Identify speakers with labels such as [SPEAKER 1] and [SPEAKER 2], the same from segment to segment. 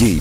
[SPEAKER 1] Jej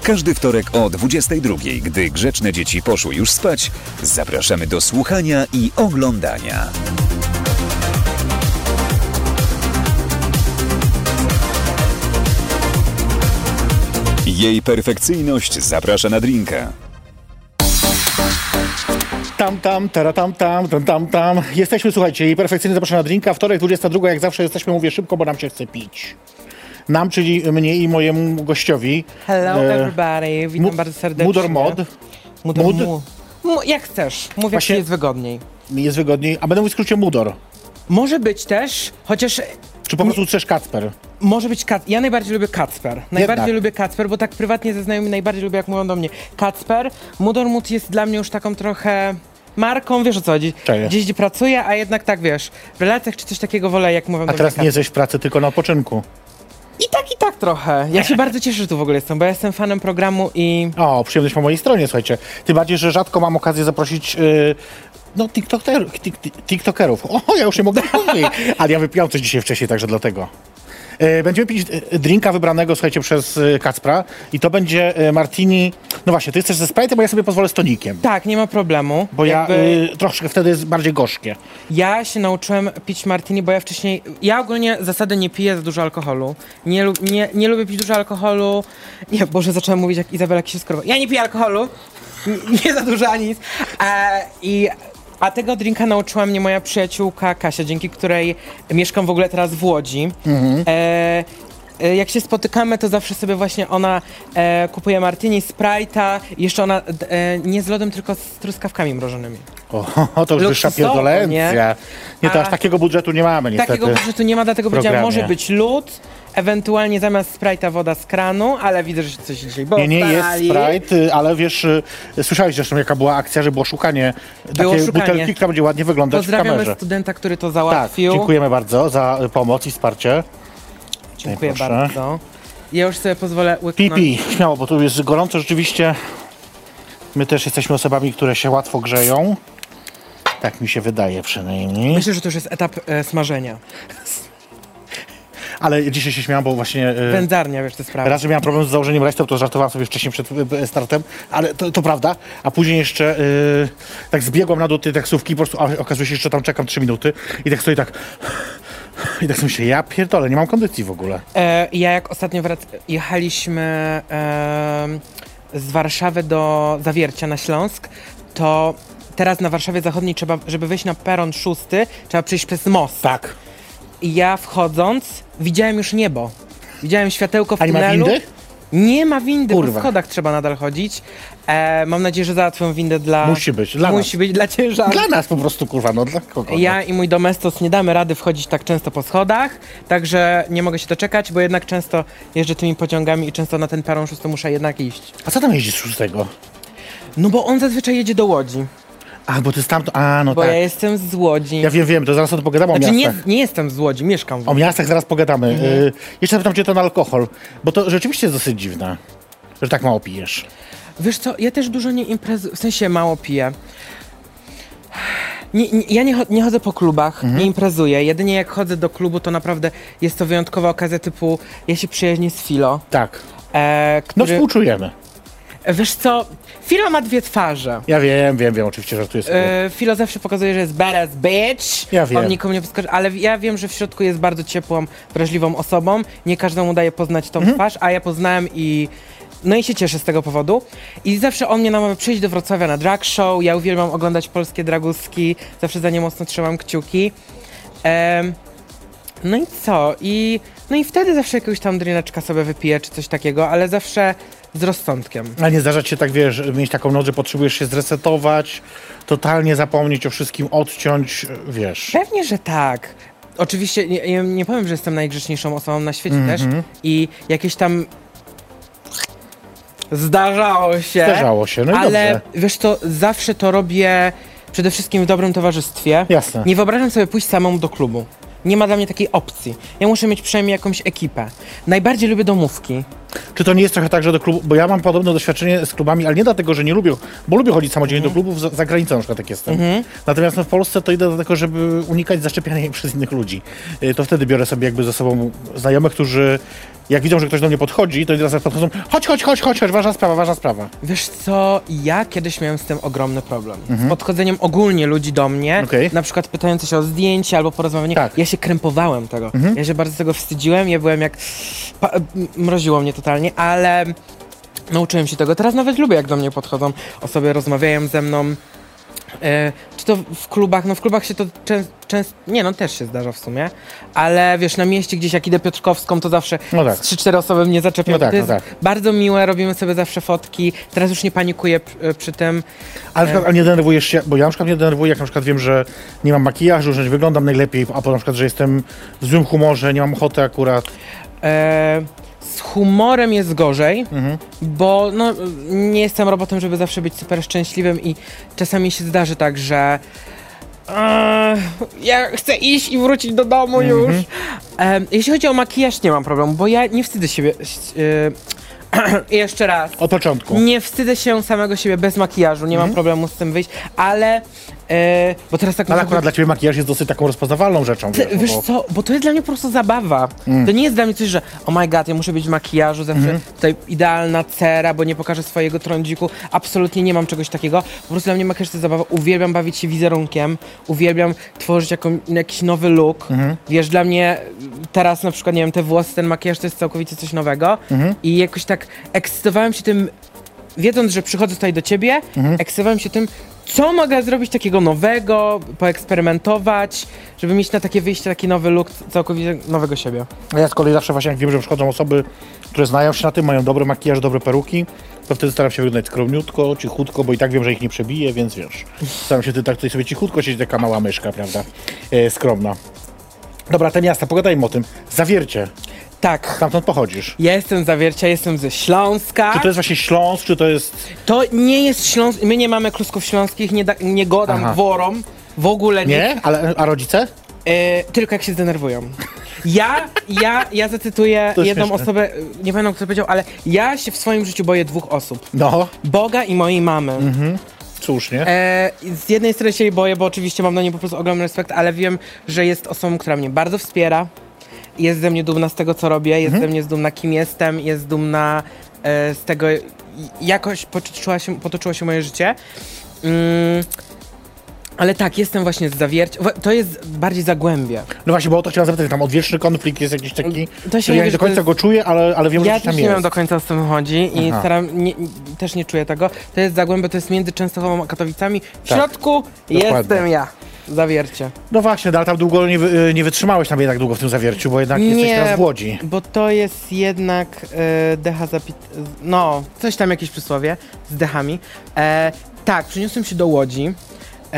[SPEAKER 1] każdy wtorek o 22, gdy grzeczne dzieci poszły już spać, zapraszamy do słuchania i oglądania. Jej perfekcyjność zaprasza na drinka.
[SPEAKER 2] Tam, tam, tara, tam, tam, tam, tam, tam. Jesteśmy, słuchajcie, i perfekcyjnie zapraszam na drinka. Wtorek, 22, jak zawsze jesteśmy, mówię szybko, bo nam się chce pić. Nam, czyli mnie i mojemu gościowi.
[SPEAKER 3] Hello
[SPEAKER 2] e,
[SPEAKER 3] everybody, witam
[SPEAKER 2] Mu-
[SPEAKER 3] bardzo serdecznie.
[SPEAKER 2] Mudor Mod.
[SPEAKER 3] Mudor
[SPEAKER 2] Mud?
[SPEAKER 3] Mu. Mu, jak chcesz, mów jak
[SPEAKER 2] Właśnie-
[SPEAKER 3] ci jest wygodniej.
[SPEAKER 2] Mi jest wygodniej. A będę mówił w skrócie Mudor.
[SPEAKER 3] Może być też, chociaż e,
[SPEAKER 2] Czy po prostu chcesz Kacper?
[SPEAKER 3] może być Kac... Ja najbardziej lubię Kacper. Najbardziej lubię Kacper, bo tak prywatnie ze znajomymi najbardziej lubię, jak mówią do mnie Kacper. Mudor Mud jest dla mnie już taką trochę marką, wiesz o co chodzi.
[SPEAKER 2] Cześć.
[SPEAKER 3] Gdzieś gdzie pracuję, a jednak tak, wiesz, w relacjach czy coś takiego wolę, jak mówią do
[SPEAKER 2] A
[SPEAKER 3] mnie
[SPEAKER 2] teraz nie
[SPEAKER 3] Kacper.
[SPEAKER 2] jesteś w pracy, tylko na odpoczynku.
[SPEAKER 3] I tak, i tak trochę. Ja się bardzo cieszę, że tu w ogóle jestem, bo ja jestem fanem programu i...
[SPEAKER 2] O, przyjemność po mojej stronie, słuchajcie. Tym bardziej, że rzadko mam okazję zaprosić. y, no, tiktoker, tik, tik- TikTokerów. O, ja już nie mogę mówić. Ale ja wypijam coś dzisiaj wcześniej, także dlatego. Y, Będziemy pić y, drinka wybranego, słuchajcie, przez y, Kacpra i to będzie y, martini... No właśnie, ty chcesz ze Sprite'em, bo ja sobie pozwolę z tonikiem.
[SPEAKER 3] Tak, nie ma problemu.
[SPEAKER 2] Bo ja
[SPEAKER 3] Jakby-
[SPEAKER 2] y, troszkę wtedy jest bardziej gorzkie.
[SPEAKER 3] Ja się nauczyłem pić martini, bo ja wcześniej. Ja ogólnie zasady nie piję za dużo alkoholu. Nie, lu- nie, nie lubię pić dużo alkoholu. Nie, Boże, zacząłem mówić jak Izabela Kisiuskorowa. Ja nie piję alkoholu. N- Nie za dużo ani nic. E, i, a tego drinka nauczyła mnie moja przyjaciółka Kasia, dzięki której mieszkam w ogóle teraz w Łodzi. E, e, jak się spotykamy, to zawsze sobie właśnie ona e, kupuje martini, sprite'a, i jeszcze ona d- e, nie z lodem, tylko z truskawkami mrożonymi.
[SPEAKER 2] O, to już wyższa
[SPEAKER 3] Luksusowo,
[SPEAKER 2] pierdolencja.
[SPEAKER 3] nie?
[SPEAKER 2] Nie, to aż
[SPEAKER 3] A-
[SPEAKER 2] takiego budżetu nie mamy niestety.
[SPEAKER 3] Takiego budżetu nie ma, dlatego powiedziałam,
[SPEAKER 2] programie.
[SPEAKER 3] może być lód, ewentualnie zamiast Sprite'a woda z kranu, ale widzę, że coś dzisiaj bo
[SPEAKER 2] Nie, nie jest Sprite, y, ale wiesz, y, słyszałeś zresztą jaka była akcja, że było szukanie
[SPEAKER 3] Było
[SPEAKER 2] takiej
[SPEAKER 3] szukanie.
[SPEAKER 2] butelki, która będzie ładnie wyglądać w
[SPEAKER 3] Pozdrawiamy
[SPEAKER 2] kamerze.
[SPEAKER 3] studenta, który to
[SPEAKER 2] Tak,
[SPEAKER 3] załatwił.
[SPEAKER 2] dziękujemy bardzo za y, pomoc i wsparcie.
[SPEAKER 3] Dziękuję
[SPEAKER 2] Proszę.
[SPEAKER 3] bardzo. Ja już sobie pozwolę łyknąć.
[SPEAKER 2] Pipi, śmiało, bo tu jest gorąco rzeczywiście. My też jesteśmy osobami, które się łatwo grzeją. Tak mi się wydaje przynajmniej.
[SPEAKER 3] Myślę, że to już jest etap e, smażenia.
[SPEAKER 2] Tak. Ale dzisiaj się śmiałam, bo właśnie... y,
[SPEAKER 3] Wędzarnia, wiesz, te sprawy.
[SPEAKER 2] Raz, że miałam problem z założeniem rajstop, to żartowałam sobie wcześniej przed y, y, startem, ale to, to prawda. A później jeszcze y, tak zbiegłam na dół tej taksówki, po prostu a, okazuje się, że tam czekam 3 minuty i tak stoi tak... I tak sobie myślę, ja pierdolę, nie mam kondycji w ogóle.
[SPEAKER 3] E, ja jak ostatnio wrac- jechaliśmy em, z Warszawy do Zawiercia na Śląsk, to teraz na Warszawie Zachodniej trzeba, żeby wyjść na peron szósty, trzeba przejść przez most.
[SPEAKER 2] Tak.
[SPEAKER 3] I ja wchodząc widziałem już niebo. Widziałem światełko w
[SPEAKER 2] A nie ma
[SPEAKER 3] tunelu.
[SPEAKER 2] windy?
[SPEAKER 3] Nie ma windy,
[SPEAKER 2] Kurwa.
[SPEAKER 3] po schodach trzeba nadal chodzić. E, mam nadzieję, że załatwią windę dla...
[SPEAKER 2] Musi być, dla
[SPEAKER 3] Musi być dla ciężaru.
[SPEAKER 2] Dla nas po prostu, kurwa, no dla kogo? no?
[SPEAKER 3] Ja i mój domestos nie damy rady wchodzić tak często po schodach, także nie mogę się doczekać, bo jednak często jeżdżę tymi pociągami i często na ten peron szósty muszę jednak iść.
[SPEAKER 2] A co tam jeździ z szóstego?
[SPEAKER 3] No bo on zazwyczaj jedzie do Łodzi,
[SPEAKER 2] A, bo ty stamtąd... A, no
[SPEAKER 3] bo
[SPEAKER 2] tak.
[SPEAKER 3] ja
[SPEAKER 2] Ja...
[SPEAKER 3] jestem z Łodzi.
[SPEAKER 2] wiem, wiem, to zaraz o tym pogadamy o
[SPEAKER 3] znaczy nie, Mhm.
[SPEAKER 2] miastach.
[SPEAKER 3] nie jestem z Łodzi, mieszkam w
[SPEAKER 2] O
[SPEAKER 3] Łodzi.
[SPEAKER 2] miastach zaraz pogadamy. Y, jeszcze zapytam cię to na alkohol, bo to rzeczywiście jest dosyć dziwne, że tak mało pijesz.
[SPEAKER 3] Wiesz co, ja też dużo nie imprezuję, w sensie mało piję. Nie, nie, ja nie, cho- nie chodzę po klubach, nie imprezuję. Jedynie jak chodzę do klubu, to naprawdę jest to wyjątkowa okazja typu ja się przyjaźnię z Filo,
[SPEAKER 2] Tak.
[SPEAKER 3] e,
[SPEAKER 2] No
[SPEAKER 3] który...
[SPEAKER 2] współczujemy.
[SPEAKER 3] Wiesz co, Filo ma dwie twarze.
[SPEAKER 2] Ja wiem, wiem, wiem, oczywiście żartuję sobie.
[SPEAKER 3] E, Filo zawsze pokazuje, że jest badass bitch.
[SPEAKER 2] Ja wiem.
[SPEAKER 3] On nikomu nie podskoczy, ale ja wiem, że w środku jest bardzo ciepłą, wrażliwą osobą. Nie każdemu daje poznać tą
[SPEAKER 2] Mhm.
[SPEAKER 3] twarz, a ja poznałem i... No i się cieszę z tego powodu. I zawsze on mnie namawia przyjść do Wrocławia na drag show. Ja uwielbiam oglądać polskie draguski. Zawsze za nie mocno trzymam kciuki. Em, no i co? I, no i wtedy zawsze jakiegoś tam drineczka sobie wypiję, czy coś takiego, ale zawsze z rozsądkiem.
[SPEAKER 2] Ale nie zdarza ci się tak, wiesz, mieć taką noc, że potrzebujesz się zresetować, totalnie zapomnieć o wszystkim, odciąć, wiesz.
[SPEAKER 3] Pewnie, że tak. Oczywiście nie, nie, nie powiem,
[SPEAKER 2] Mhm.
[SPEAKER 3] że jestem najgrzeczniejszą osobą na świecie też i jakieś tam Zdarzało się.
[SPEAKER 2] Zdarzało się, no i
[SPEAKER 3] Ale
[SPEAKER 2] dobrze.
[SPEAKER 3] wiesz to zawsze to robię przede wszystkim w dobrym towarzystwie.
[SPEAKER 2] Jasne.
[SPEAKER 3] Nie wyobrażam sobie pójść samemu do klubu. Nie ma dla mnie takiej opcji. Ja muszę mieć przynajmniej jakąś ekipę. Najbardziej lubię domówki.
[SPEAKER 2] Czy to nie jest trochę tak, że do klubu, bo ja mam podobne doświadczenie z klubami, ale nie dlatego, że nie lubię, bo lubię chodzić samodzielnie do klubów, za, za granicą na przykład tak jestem. Natomiast no, w Polsce to idę dlatego, żeby unikać zaszczepiania się przez innych ludzi. Y, To wtedy biorę sobie jakby ze sobą znajomych, którzy jak widzą, że ktoś do mnie podchodzi, to teraz podchodzą, chodź, chodź, chodź, chodź, chodź, ważna sprawa, ważna sprawa.
[SPEAKER 3] Wiesz co, ja kiedyś miałem z tym ogromny problem. Z podchodzeniem ogólnie ludzi do mnie,
[SPEAKER 2] Mhm. Okej.
[SPEAKER 3] na przykład pytający się o zdjęcie albo porozmawianie.
[SPEAKER 2] Tak. Mhm.
[SPEAKER 3] Ja się krępowałem tego. Ja się bardzo tego wstydziłem, ja byłem jak... Pa... m- Mroziło mnie totalnie, ale nauczyłem się tego. Teraz nawet lubię, jak do mnie podchodzą osoby, rozmawiają ze mną. E, czy to w klubach? No w klubach się to często... Częst... Nie, no też się zdarza w sumie, ale wiesz, na mieście gdzieś jak idę Piotrkowską, to zawsze
[SPEAKER 2] No tak.
[SPEAKER 3] trzy, cztery osoby mnie zaczepią.
[SPEAKER 2] No tak,
[SPEAKER 3] To jest
[SPEAKER 2] no tak.
[SPEAKER 3] bardzo miłe, robimy sobie zawsze fotki. Teraz już nie panikuję przy, e, przy tym.
[SPEAKER 2] Ale na
[SPEAKER 3] E,
[SPEAKER 2] przykład, a nie denerwujesz się, bo ja na przykład nie denerwuję, jak na przykład wiem, że nie mam makijażu, że nie wyglądam najlepiej, a po na przykład, że jestem w złym humorze, nie mam ochoty akurat.
[SPEAKER 3] E, z humorem jest gorzej,
[SPEAKER 2] Mhm.
[SPEAKER 3] bo no, nie jestem robotem, żeby zawsze być super szczęśliwym i czasami się zdarzy tak, że e, ja chcę iść i wrócić do domu
[SPEAKER 2] Mhm.
[SPEAKER 3] już. E, jeśli chodzi o makijaż, nie mam problemu, bo ja nie wstydzę siebie. E, jeszcze raz.
[SPEAKER 2] Od początku.
[SPEAKER 3] Nie wstydzę się samego siebie bez makijażu, nie
[SPEAKER 2] Mhm.
[SPEAKER 3] mam problemu z tym wyjść, ale. e, bo teraz tak
[SPEAKER 2] No, ale
[SPEAKER 3] naprawdę-
[SPEAKER 2] akurat dla ciebie makijaż jest dosyć taką rozpoznawalną rzeczą.
[SPEAKER 3] Ty,
[SPEAKER 2] no
[SPEAKER 3] wiesz
[SPEAKER 2] bo-
[SPEAKER 3] co, bo to jest dla mnie po prostu zabawa. To nie jest dla mnie coś, że oh my god, ja muszę być w makijażu, zawsze tutaj idealna cera, bo nie pokażę swojego trądziku. Absolutnie nie mam czegoś takiego. Po prostu dla mnie makijaż to jest zabawa. Uwielbiam bawić się wizerunkiem, uwielbiam tworzyć jaką, jakiś nowy look. Wiesz, dla mnie teraz na przykład, nie wiem, te włosy, ten makijaż to jest całkowicie coś nowego. I jakoś tak ekscytowałem się tym wiedząc, że przychodzę tutaj do ciebie,
[SPEAKER 2] Mhm.
[SPEAKER 3] ekscytowałem się tym, co mogę zrobić takiego nowego, poeksperymentować, żeby mieć na takie wyjście taki nowy look całkowicie nowego siebie.
[SPEAKER 2] A ja z kolei zawsze właśnie jak wiem, że przychodzą osoby, które znają się na tym, mają dobry makijaż, dobre peruki, to wtedy staram się wyglądać skromniutko, cichutko, bo i tak wiem, że ich nie przebije, więc wiesz, staram się ty tak tutaj sobie cichutko siedzieć, taka mała myszka, prawda, e, skromna. Dobra, te miasta, pogadajmy o tym. Zawiercie,
[SPEAKER 3] Tak.
[SPEAKER 2] stamtąd pochodzisz.
[SPEAKER 3] Ja jestem z zawiercia, jestem ze Śląska.
[SPEAKER 2] Czy to jest właśnie Śląsk, czy to jest...
[SPEAKER 3] To nie jest Śląsk. My nie mamy klusków śląskich, nie, da, nie godam
[SPEAKER 2] Aha.
[SPEAKER 3] gworom. W ogóle nie.
[SPEAKER 2] Nie? Ale, a rodzice?
[SPEAKER 3] E, tylko jak się zdenerwują. Ja, ja, ja zacytuję
[SPEAKER 2] To
[SPEAKER 3] jedną
[SPEAKER 2] śmieszne.
[SPEAKER 3] osobę, nie pamiętam kto powiedział, ale ja się w swoim życiu boję dwóch osób.
[SPEAKER 2] No,
[SPEAKER 3] Boga i mojej mamy.
[SPEAKER 2] Mhm. cóż, nie?
[SPEAKER 3] E, z jednej strony się jej boję, bo oczywiście mam do niej po prostu ogromny respekt, ale wiem, że jest osobą, która mnie bardzo wspiera. Jest ze mnie dumna z tego, co robię,
[SPEAKER 2] Mhm.
[SPEAKER 3] jest ze mnie dumna, kim jestem, jest dumna e, z tego, i- jakoś potoczyła się, potoczyło się moje życie. Mm, ale tak, jestem właśnie z zawiercia. Wa- To jest bardziej zagłębie.
[SPEAKER 2] No właśnie, bo o to chciałem zapytać, tam odwieczny konflikt jest jakiś taki,
[SPEAKER 3] To się
[SPEAKER 2] że ja nie
[SPEAKER 3] mówi,
[SPEAKER 2] do
[SPEAKER 3] że to
[SPEAKER 2] końca
[SPEAKER 3] jest-
[SPEAKER 2] go czuję, ale, ale wiem,
[SPEAKER 3] Ja
[SPEAKER 2] że coś
[SPEAKER 3] też
[SPEAKER 2] tam
[SPEAKER 3] nie
[SPEAKER 2] jest.
[SPEAKER 3] wiem do końca o co tym chodzi i
[SPEAKER 2] Aha.
[SPEAKER 3] staram, nie, też nie czuję tego. To jest zagłębie, to jest między Częstochową a Katowicami. W
[SPEAKER 2] Tak.
[SPEAKER 3] środku
[SPEAKER 2] Dokładnie.
[SPEAKER 3] jestem ja. Zawiercie.
[SPEAKER 2] No właśnie, no, ale tam długo nie, wy, nie wytrzymałeś tam jednak długo w tym zawierciu, bo jednak jesteś teraz w Łodzi.
[SPEAKER 3] Bo to jest jednak e, decha zapit... z- No, coś tam jakieś przysłowie z dechami. E, tak, przeniosłem się do Łodzi.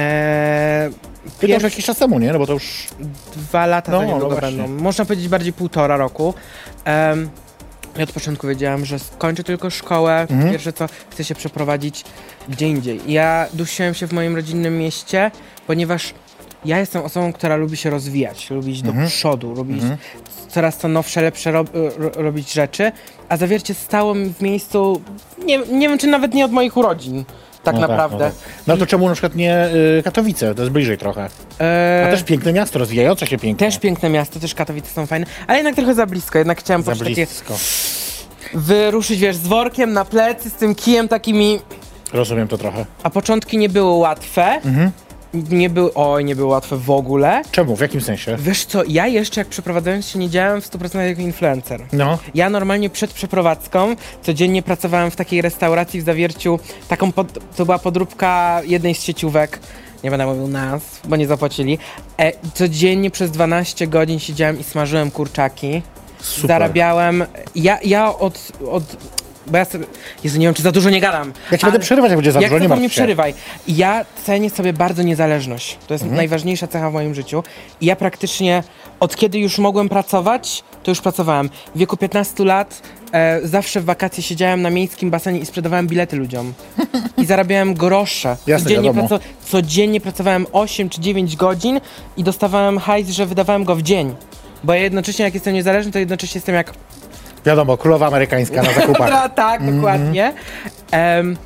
[SPEAKER 3] E,
[SPEAKER 2] Ty to już
[SPEAKER 3] pierwsze
[SPEAKER 2] jakiś czas temu, nie? No bo to już...
[SPEAKER 3] Tak dwa lata
[SPEAKER 2] No,
[SPEAKER 3] za
[SPEAKER 2] no
[SPEAKER 3] niedługo
[SPEAKER 2] właśnie.
[SPEAKER 3] będą. Można powiedzieć bardziej półtora roku. Em, ja od początku wiedziałam, że skończę tylko szkołę.
[SPEAKER 2] Mhm.
[SPEAKER 3] Pierwsze co, chcę się przeprowadzić gdzie indziej. Ja dusiłem się w moim rodzinnym mieście, ponieważ ja jestem osobą, która lubi się rozwijać, lubi iść
[SPEAKER 2] Mhm.
[SPEAKER 3] do przodu, lubi iść coraz to nowsze, lepsze rob, ro, robić rzeczy, a zawiercie stało mi w miejscu, nie, nie wiem czy nawet nie od moich urodzin, tak
[SPEAKER 2] no
[SPEAKER 3] naprawdę.
[SPEAKER 2] Tak, no, tak. no to czemu na przykład nie y, Katowice? To jest bliżej trochę.
[SPEAKER 3] E,
[SPEAKER 2] tak. A też piękne miasto, rozwijające się pięknie.
[SPEAKER 3] Też piękne miasto, też Katowice są fajne, ale jednak trochę za blisko, jednak chciałam
[SPEAKER 2] Za
[SPEAKER 3] poczuć takie
[SPEAKER 2] blisko.
[SPEAKER 3] wyruszyć, wiesz, z workiem na plecy, z tym kijem takimi,
[SPEAKER 2] Rozumiem to trochę.
[SPEAKER 3] a początki nie były łatwe, nie były, oj, nie były łatwe w ogóle.
[SPEAKER 2] Czemu? W jakim sensie?
[SPEAKER 3] Wiesz co, ja jeszcze jak przeprowadzałem się nie działałem w 100% jako influencer.
[SPEAKER 2] No,
[SPEAKER 3] Ja normalnie przed przeprowadzką codziennie pracowałem w takiej restauracji w Zawierciu, taką pod, to była podróbka jednej z sieciówek, nie będę mówił nas, bo nie zapłacili. E, codziennie przez 12 godzin siedziałem i smażyłem kurczaki.
[SPEAKER 2] super.
[SPEAKER 3] Zarabiałem, ja, ja od, od, bo ja sobie, Jezu, nie wiem czy za dużo nie gadam.
[SPEAKER 2] Ja ci będę
[SPEAKER 3] ale-
[SPEAKER 2] przerywać, jak będzie za
[SPEAKER 3] jak
[SPEAKER 2] dużo, nie
[SPEAKER 3] chcę, to
[SPEAKER 2] martw
[SPEAKER 3] mnie
[SPEAKER 2] się.
[SPEAKER 3] przerywaj. Ja cenię sobie bardzo
[SPEAKER 2] Mhm.
[SPEAKER 3] niezależność. To jest najważniejsza cecha w moim życiu. I ja praktycznie od kiedy już mogłem pracować, to już pracowałem. W wieku 15 lat e, zawsze w wakacje siedziałem na miejskim basenie i sprzedawałem bilety ludziom. I zarabiałem grosze.
[SPEAKER 2] Jasne, wiadomo.
[SPEAKER 3] codziennie pracowałem 8 czy 9 godzin i dostawałem hajs, że wydawałem go w dzień. Bo ja jednocześnie jak jestem niezależny, to jednocześnie jestem jak
[SPEAKER 2] Wiadomo, królowa amerykańska na zakupach.
[SPEAKER 3] Dobra, tak,
[SPEAKER 2] Mhm.
[SPEAKER 3] dokładnie. Em,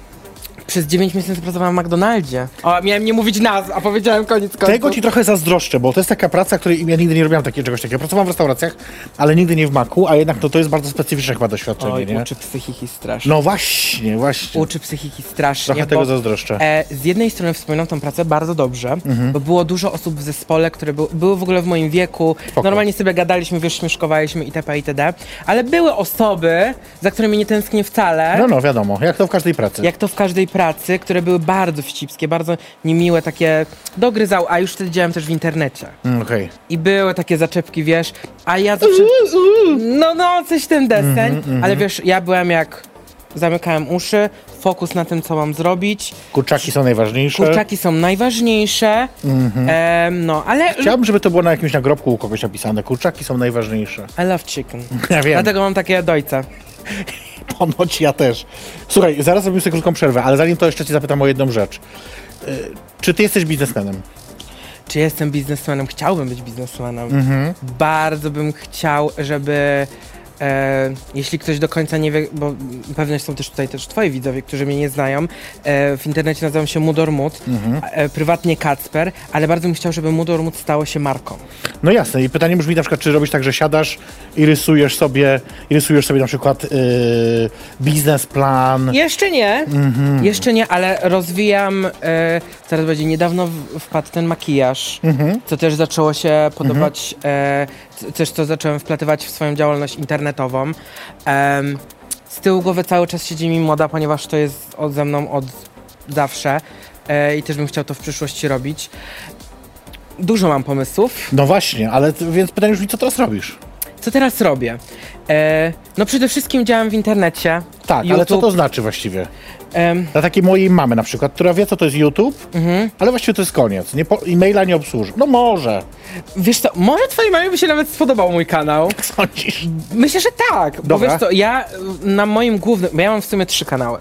[SPEAKER 3] przez 9 miesięcy pracowałam w McDonaldzie. O, miałem nie mówić nazw, a powiedziałem koniec końców.
[SPEAKER 2] Tego ci trochę zazdroszczę, bo to jest taka praca, której ja nigdy nie robiłam takiego czegoś takiego. Pracowałam w restauracjach, ale nigdy nie w maku, a jednak no, to jest bardzo specyficzne chyba doświadczenie,
[SPEAKER 3] Oj,
[SPEAKER 2] nie?
[SPEAKER 3] uczy psychiki strasznie.
[SPEAKER 2] No właśnie, właśnie.
[SPEAKER 3] Uczy psychiki strasznie.
[SPEAKER 2] No. Trochę tego zazdroszczę.
[SPEAKER 3] E, z jednej strony wspominam tą pracę bardzo dobrze,
[SPEAKER 2] Mhm.
[SPEAKER 3] bo było dużo osób w zespole, które był, były w ogóle w moim wieku. Normalnie sobie gadaliśmy, wiesz, śmieszkowaliśmy itp. itd. Ale były osoby, za którymi nie tęsknię wcale.
[SPEAKER 2] No, no, wiadomo, jak to w każdej pracy.
[SPEAKER 3] Jak to w każdej pracy, które były bardzo wścibskie, bardzo niemiłe, takie dogryzał, a już wtedy działałem też w internecie.
[SPEAKER 2] Mm, Okej.
[SPEAKER 3] I były takie zaczepki, wiesz, a ja zawsze... No, no, coś ten deseń, ale wiesz, ja byłem jak... Zamykałem uszy, fokus na tym, co mam zrobić.
[SPEAKER 2] Kurczaki są najważniejsze.
[SPEAKER 3] Kurczaki są najważniejsze, em, no, ale...
[SPEAKER 2] Chciałbym, żeby to było na jakimś nagrobku u kogoś napisane. Kurczaki są najważniejsze.
[SPEAKER 3] I love chicken.
[SPEAKER 2] Ja wiem,
[SPEAKER 3] Dlatego mam takie dojce.
[SPEAKER 2] ponoć ja też. Słuchaj, zaraz robimy sobie krótką przerwę, ale zanim to jeszcze ci zapytam o jedną rzecz. Y, Czy ty jesteś biznesmenem?
[SPEAKER 3] Czy jestem biznesmenem? Chciałbym być biznesmenem. Bardzo bym chciał, żeby. E, jeśli ktoś do końca nie wie, bo pewność są też tutaj też twoi widzowie, którzy mnie nie znają. E, w internecie nazywam się Mudor Mud, e, prywatnie Kacper, ale bardzo bym chciał, żeby Mudor Mud stało się marką.
[SPEAKER 2] No jasne, i pytanie brzmi na przykład, czy robisz tak, że siadasz i rysujesz sobie, i rysujesz sobie na przykład y, biznesplan.
[SPEAKER 3] Jeszcze nie,
[SPEAKER 2] Mhm.
[SPEAKER 3] jeszcze nie, ale rozwijam, e, coraz bardziej niedawno w- wpadł ten makijaż,
[SPEAKER 2] Mhm.
[SPEAKER 3] co też zaczęło się podobać, e, c- też co zacząłem wplatywać w swoją działalność internetową. Em, z tyłu głowy cały czas siedzi mi moda, ponieważ to jest od, ze mną od zawsze e, i też bym chciał to w przyszłości robić. Dużo mam pomysłów.
[SPEAKER 2] No właśnie, ale t- więc pytanie brzmi, co teraz robisz?
[SPEAKER 3] Co teraz robię? E, no przede wszystkim działam w internecie.
[SPEAKER 2] Tak, ale co
[SPEAKER 3] YouTube,
[SPEAKER 2] to znaczy właściwie?
[SPEAKER 3] em,
[SPEAKER 2] Dla takiej mojej mamy na przykład, która wie, co to jest YouTube,
[SPEAKER 3] Mhm.
[SPEAKER 2] ale właściwie to jest koniec. Nie po, e-maila nie obsłuży. No może.
[SPEAKER 3] Wiesz co, może twojej mamie by się nawet spodobał mój kanał.
[SPEAKER 2] Jak sądzisz?
[SPEAKER 3] Myślę, że tak, bo
[SPEAKER 2] Dobra.
[SPEAKER 3] wiesz co, ja y, na moim głównym, bo ja mam w sumie trzy kanały.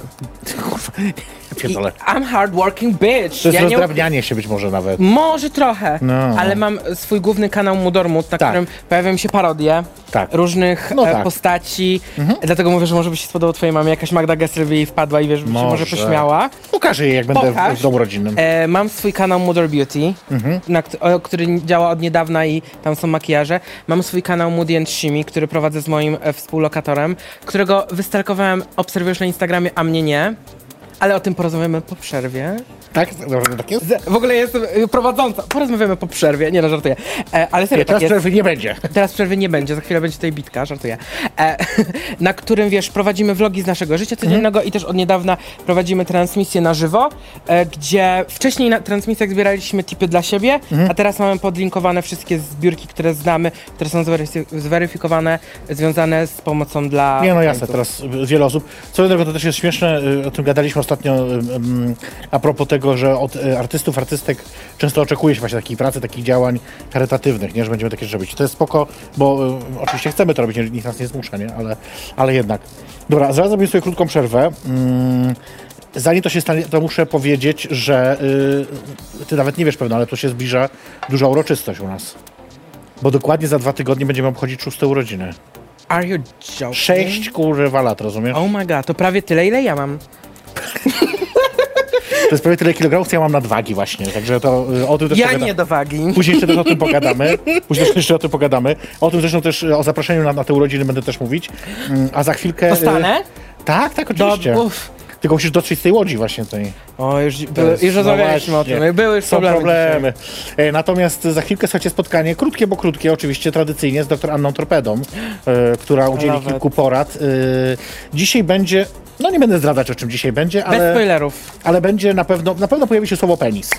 [SPEAKER 2] Kurwa, ja
[SPEAKER 3] I
[SPEAKER 2] pierdolę.
[SPEAKER 3] I'm hardworking bitch.
[SPEAKER 2] To jest
[SPEAKER 3] ja nie,
[SPEAKER 2] rozdrabnianie się być może nawet.
[SPEAKER 3] może trochę,
[SPEAKER 2] No.
[SPEAKER 3] ale mam swój główny kanał Mudormut, na
[SPEAKER 2] Tak.
[SPEAKER 3] którym pojawiają się parodie
[SPEAKER 2] Tak.
[SPEAKER 3] różnych
[SPEAKER 2] No
[SPEAKER 3] e,
[SPEAKER 2] tak. Mhm.
[SPEAKER 3] postaci. Dlatego mówię, że może by się spodobał twojej mamie, jakaś Magda Gessler by jej wpadła i wiesz, może. się może
[SPEAKER 2] Może.
[SPEAKER 3] pośmiała.
[SPEAKER 2] Pokażę jej, jak będę w,
[SPEAKER 3] Pokaż.
[SPEAKER 2] w domu rodzinnym.
[SPEAKER 3] E, mam swój kanał Mudor Beauty, na, kt- o, który działa od niedawna i tam są makijaże. Mam swój kanał Moody and Shimi, który prowadzę z moim e, współlokatorem, którego wystarkowałem, obserwujesz na Instagramie, a mnie nie. Ale o tym porozmawiamy po przerwie.
[SPEAKER 2] Tak? Dobra, tak jest?
[SPEAKER 3] Z- W ogóle jestem y, prowadząca. Porozmawiamy po przerwie. Nie no, żartuję. E, ale serio,
[SPEAKER 2] Nie,
[SPEAKER 3] tak
[SPEAKER 2] teraz
[SPEAKER 3] jest.
[SPEAKER 2] przerwy nie będzie.
[SPEAKER 3] Teraz przerwy nie będzie, za chwilę będzie tutaj bitka, żartuję. E, na którym, wiesz, prowadzimy vlogi z naszego życia
[SPEAKER 2] Mhm.
[SPEAKER 3] codziennego i też od niedawna prowadzimy transmisję na żywo, e, gdzie wcześniej na transmisjach zbieraliśmy tipy dla siebie,
[SPEAKER 2] Mhm.
[SPEAKER 3] a teraz mamy podlinkowane wszystkie zbiórki, które znamy, które są zweryfi- zweryfikowane, związane z pomocą dla...
[SPEAKER 2] Nie, no jasne,
[SPEAKER 3] klientów.
[SPEAKER 2] teraz y, wiele osób. Co innego, to też jest śmieszne, y, o tym gadaliśmy ostatnio y, mm, a propos tego, że od y, artystów, artystek często oczekuje się właśnie takiej pracy, takich działań charytatywnych, nie, że będziemy takie rzeczy robić. To jest spoko, bo y, oczywiście chcemy to robić, nie- nikt nas nie zmusza, nie, ale, ale jednak. Dobra, zaraz zrobimy sobie krótką przerwę. Mm, Zanim to się stanie, to muszę powiedzieć, że y, ty nawet nie wiesz pewno, ale tu się zbliża duża uroczystość u nas. Bo dokładnie za dwa tygodnie będziemy obchodzić szóste urodziny.
[SPEAKER 3] Are you joking?
[SPEAKER 2] Sześć kurwa lat, rozumiesz?
[SPEAKER 3] Oh my god, to prawie tyle, ile ja mam.
[SPEAKER 2] To jest prawie tyle kilogramów, co ja mam nadwagi właśnie, także to y, o tym też
[SPEAKER 3] Ja
[SPEAKER 2] pogadamy.
[SPEAKER 3] nie do wagi.
[SPEAKER 2] Później jeszcze też o tym pogadamy. Później też jeszcze o tym pogadamy. O tym zresztą też, y, o zaproszeniu na, na te urodziny będę też mówić. Mm, A za chwilkę... y,
[SPEAKER 3] Dostanę?
[SPEAKER 2] Tak, tak,
[SPEAKER 3] Do,
[SPEAKER 2] oczywiście.
[SPEAKER 3] uff.
[SPEAKER 2] Tylko musisz dotrzeć z tej łodzi właśnie tej.
[SPEAKER 3] O, już,
[SPEAKER 2] To
[SPEAKER 3] były,
[SPEAKER 2] jest-
[SPEAKER 3] już
[SPEAKER 2] no
[SPEAKER 3] rozmawialiśmy o
[SPEAKER 2] właśnie.
[SPEAKER 3] tym. Były już
[SPEAKER 2] Są
[SPEAKER 3] problemy. dzisiaj.
[SPEAKER 2] problemy. E, Natomiast za chwilkę słuchajcie spotkanie, krótkie, bo krótkie, oczywiście tradycyjnie z dr Anną Torpedą, e, która udzieli
[SPEAKER 3] Nawet.
[SPEAKER 2] kilku porad. E, dzisiaj będzie, no nie będę zdradzać o czym dzisiaj będzie,
[SPEAKER 3] Bez
[SPEAKER 2] ale,
[SPEAKER 3] spoilerów.
[SPEAKER 2] ale będzie na pewno, na pewno pojawi się słowo penis.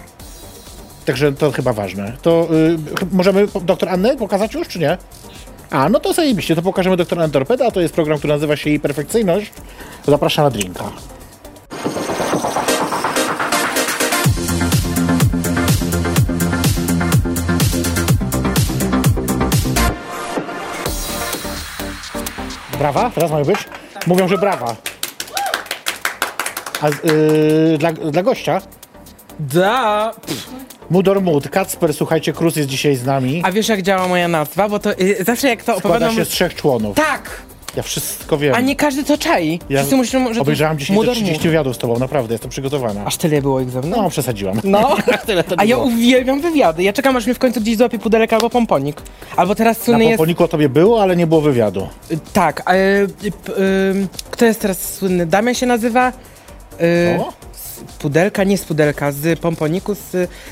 [SPEAKER 2] Także to chyba ważne. To y, ch- możemy po- doktor Annę pokazać już, czy nie? A, no to zajebiście, to pokażemy doktor Annę Torpeda, to jest program, który nazywa się jej perfekcyjność. Zapraszam na drinka. Brawa? Teraz mają być? Mówią, że brawa. A z- yy, dla, dla gościa?
[SPEAKER 3] Da! Pff.
[SPEAKER 2] Mudor Mud, Kacper, słuchajcie, Krus jest dzisiaj z nami.
[SPEAKER 3] A wiesz jak działa moja nazwa? Bo to y, zawsze jak to
[SPEAKER 2] Składa
[SPEAKER 3] opowiadam...
[SPEAKER 2] się z trzech członów.
[SPEAKER 3] Tak!
[SPEAKER 2] Ja wszystko wiem.
[SPEAKER 3] A nie każdy to czai.
[SPEAKER 2] ja
[SPEAKER 3] Wszyscy myślą, że
[SPEAKER 2] obejrzałam dzisiaj
[SPEAKER 3] Mudor
[SPEAKER 2] te 30
[SPEAKER 3] Mów.
[SPEAKER 2] wywiadów z tobą, naprawdę, jestem przygotowana.
[SPEAKER 3] Aż tyle było ich ze mną?
[SPEAKER 2] No, przesadziłam.
[SPEAKER 3] No.
[SPEAKER 2] Tyle to
[SPEAKER 3] A ja
[SPEAKER 2] było.
[SPEAKER 3] uwielbiam wywiady. Ja czekam, aż mnie w końcu gdzieś złapie pudelek albo pomponik. Albo teraz
[SPEAKER 2] Na
[SPEAKER 3] słynny jest...
[SPEAKER 2] Poponiku o tobie było, ale nie było wywiadu.
[SPEAKER 3] Y, Tak, e, y, p- ym, kto jest teraz słynny? Damian się nazywa? Y,
[SPEAKER 2] O?
[SPEAKER 3] z Pudelka, nie z Pudelka, z Pomponiku, z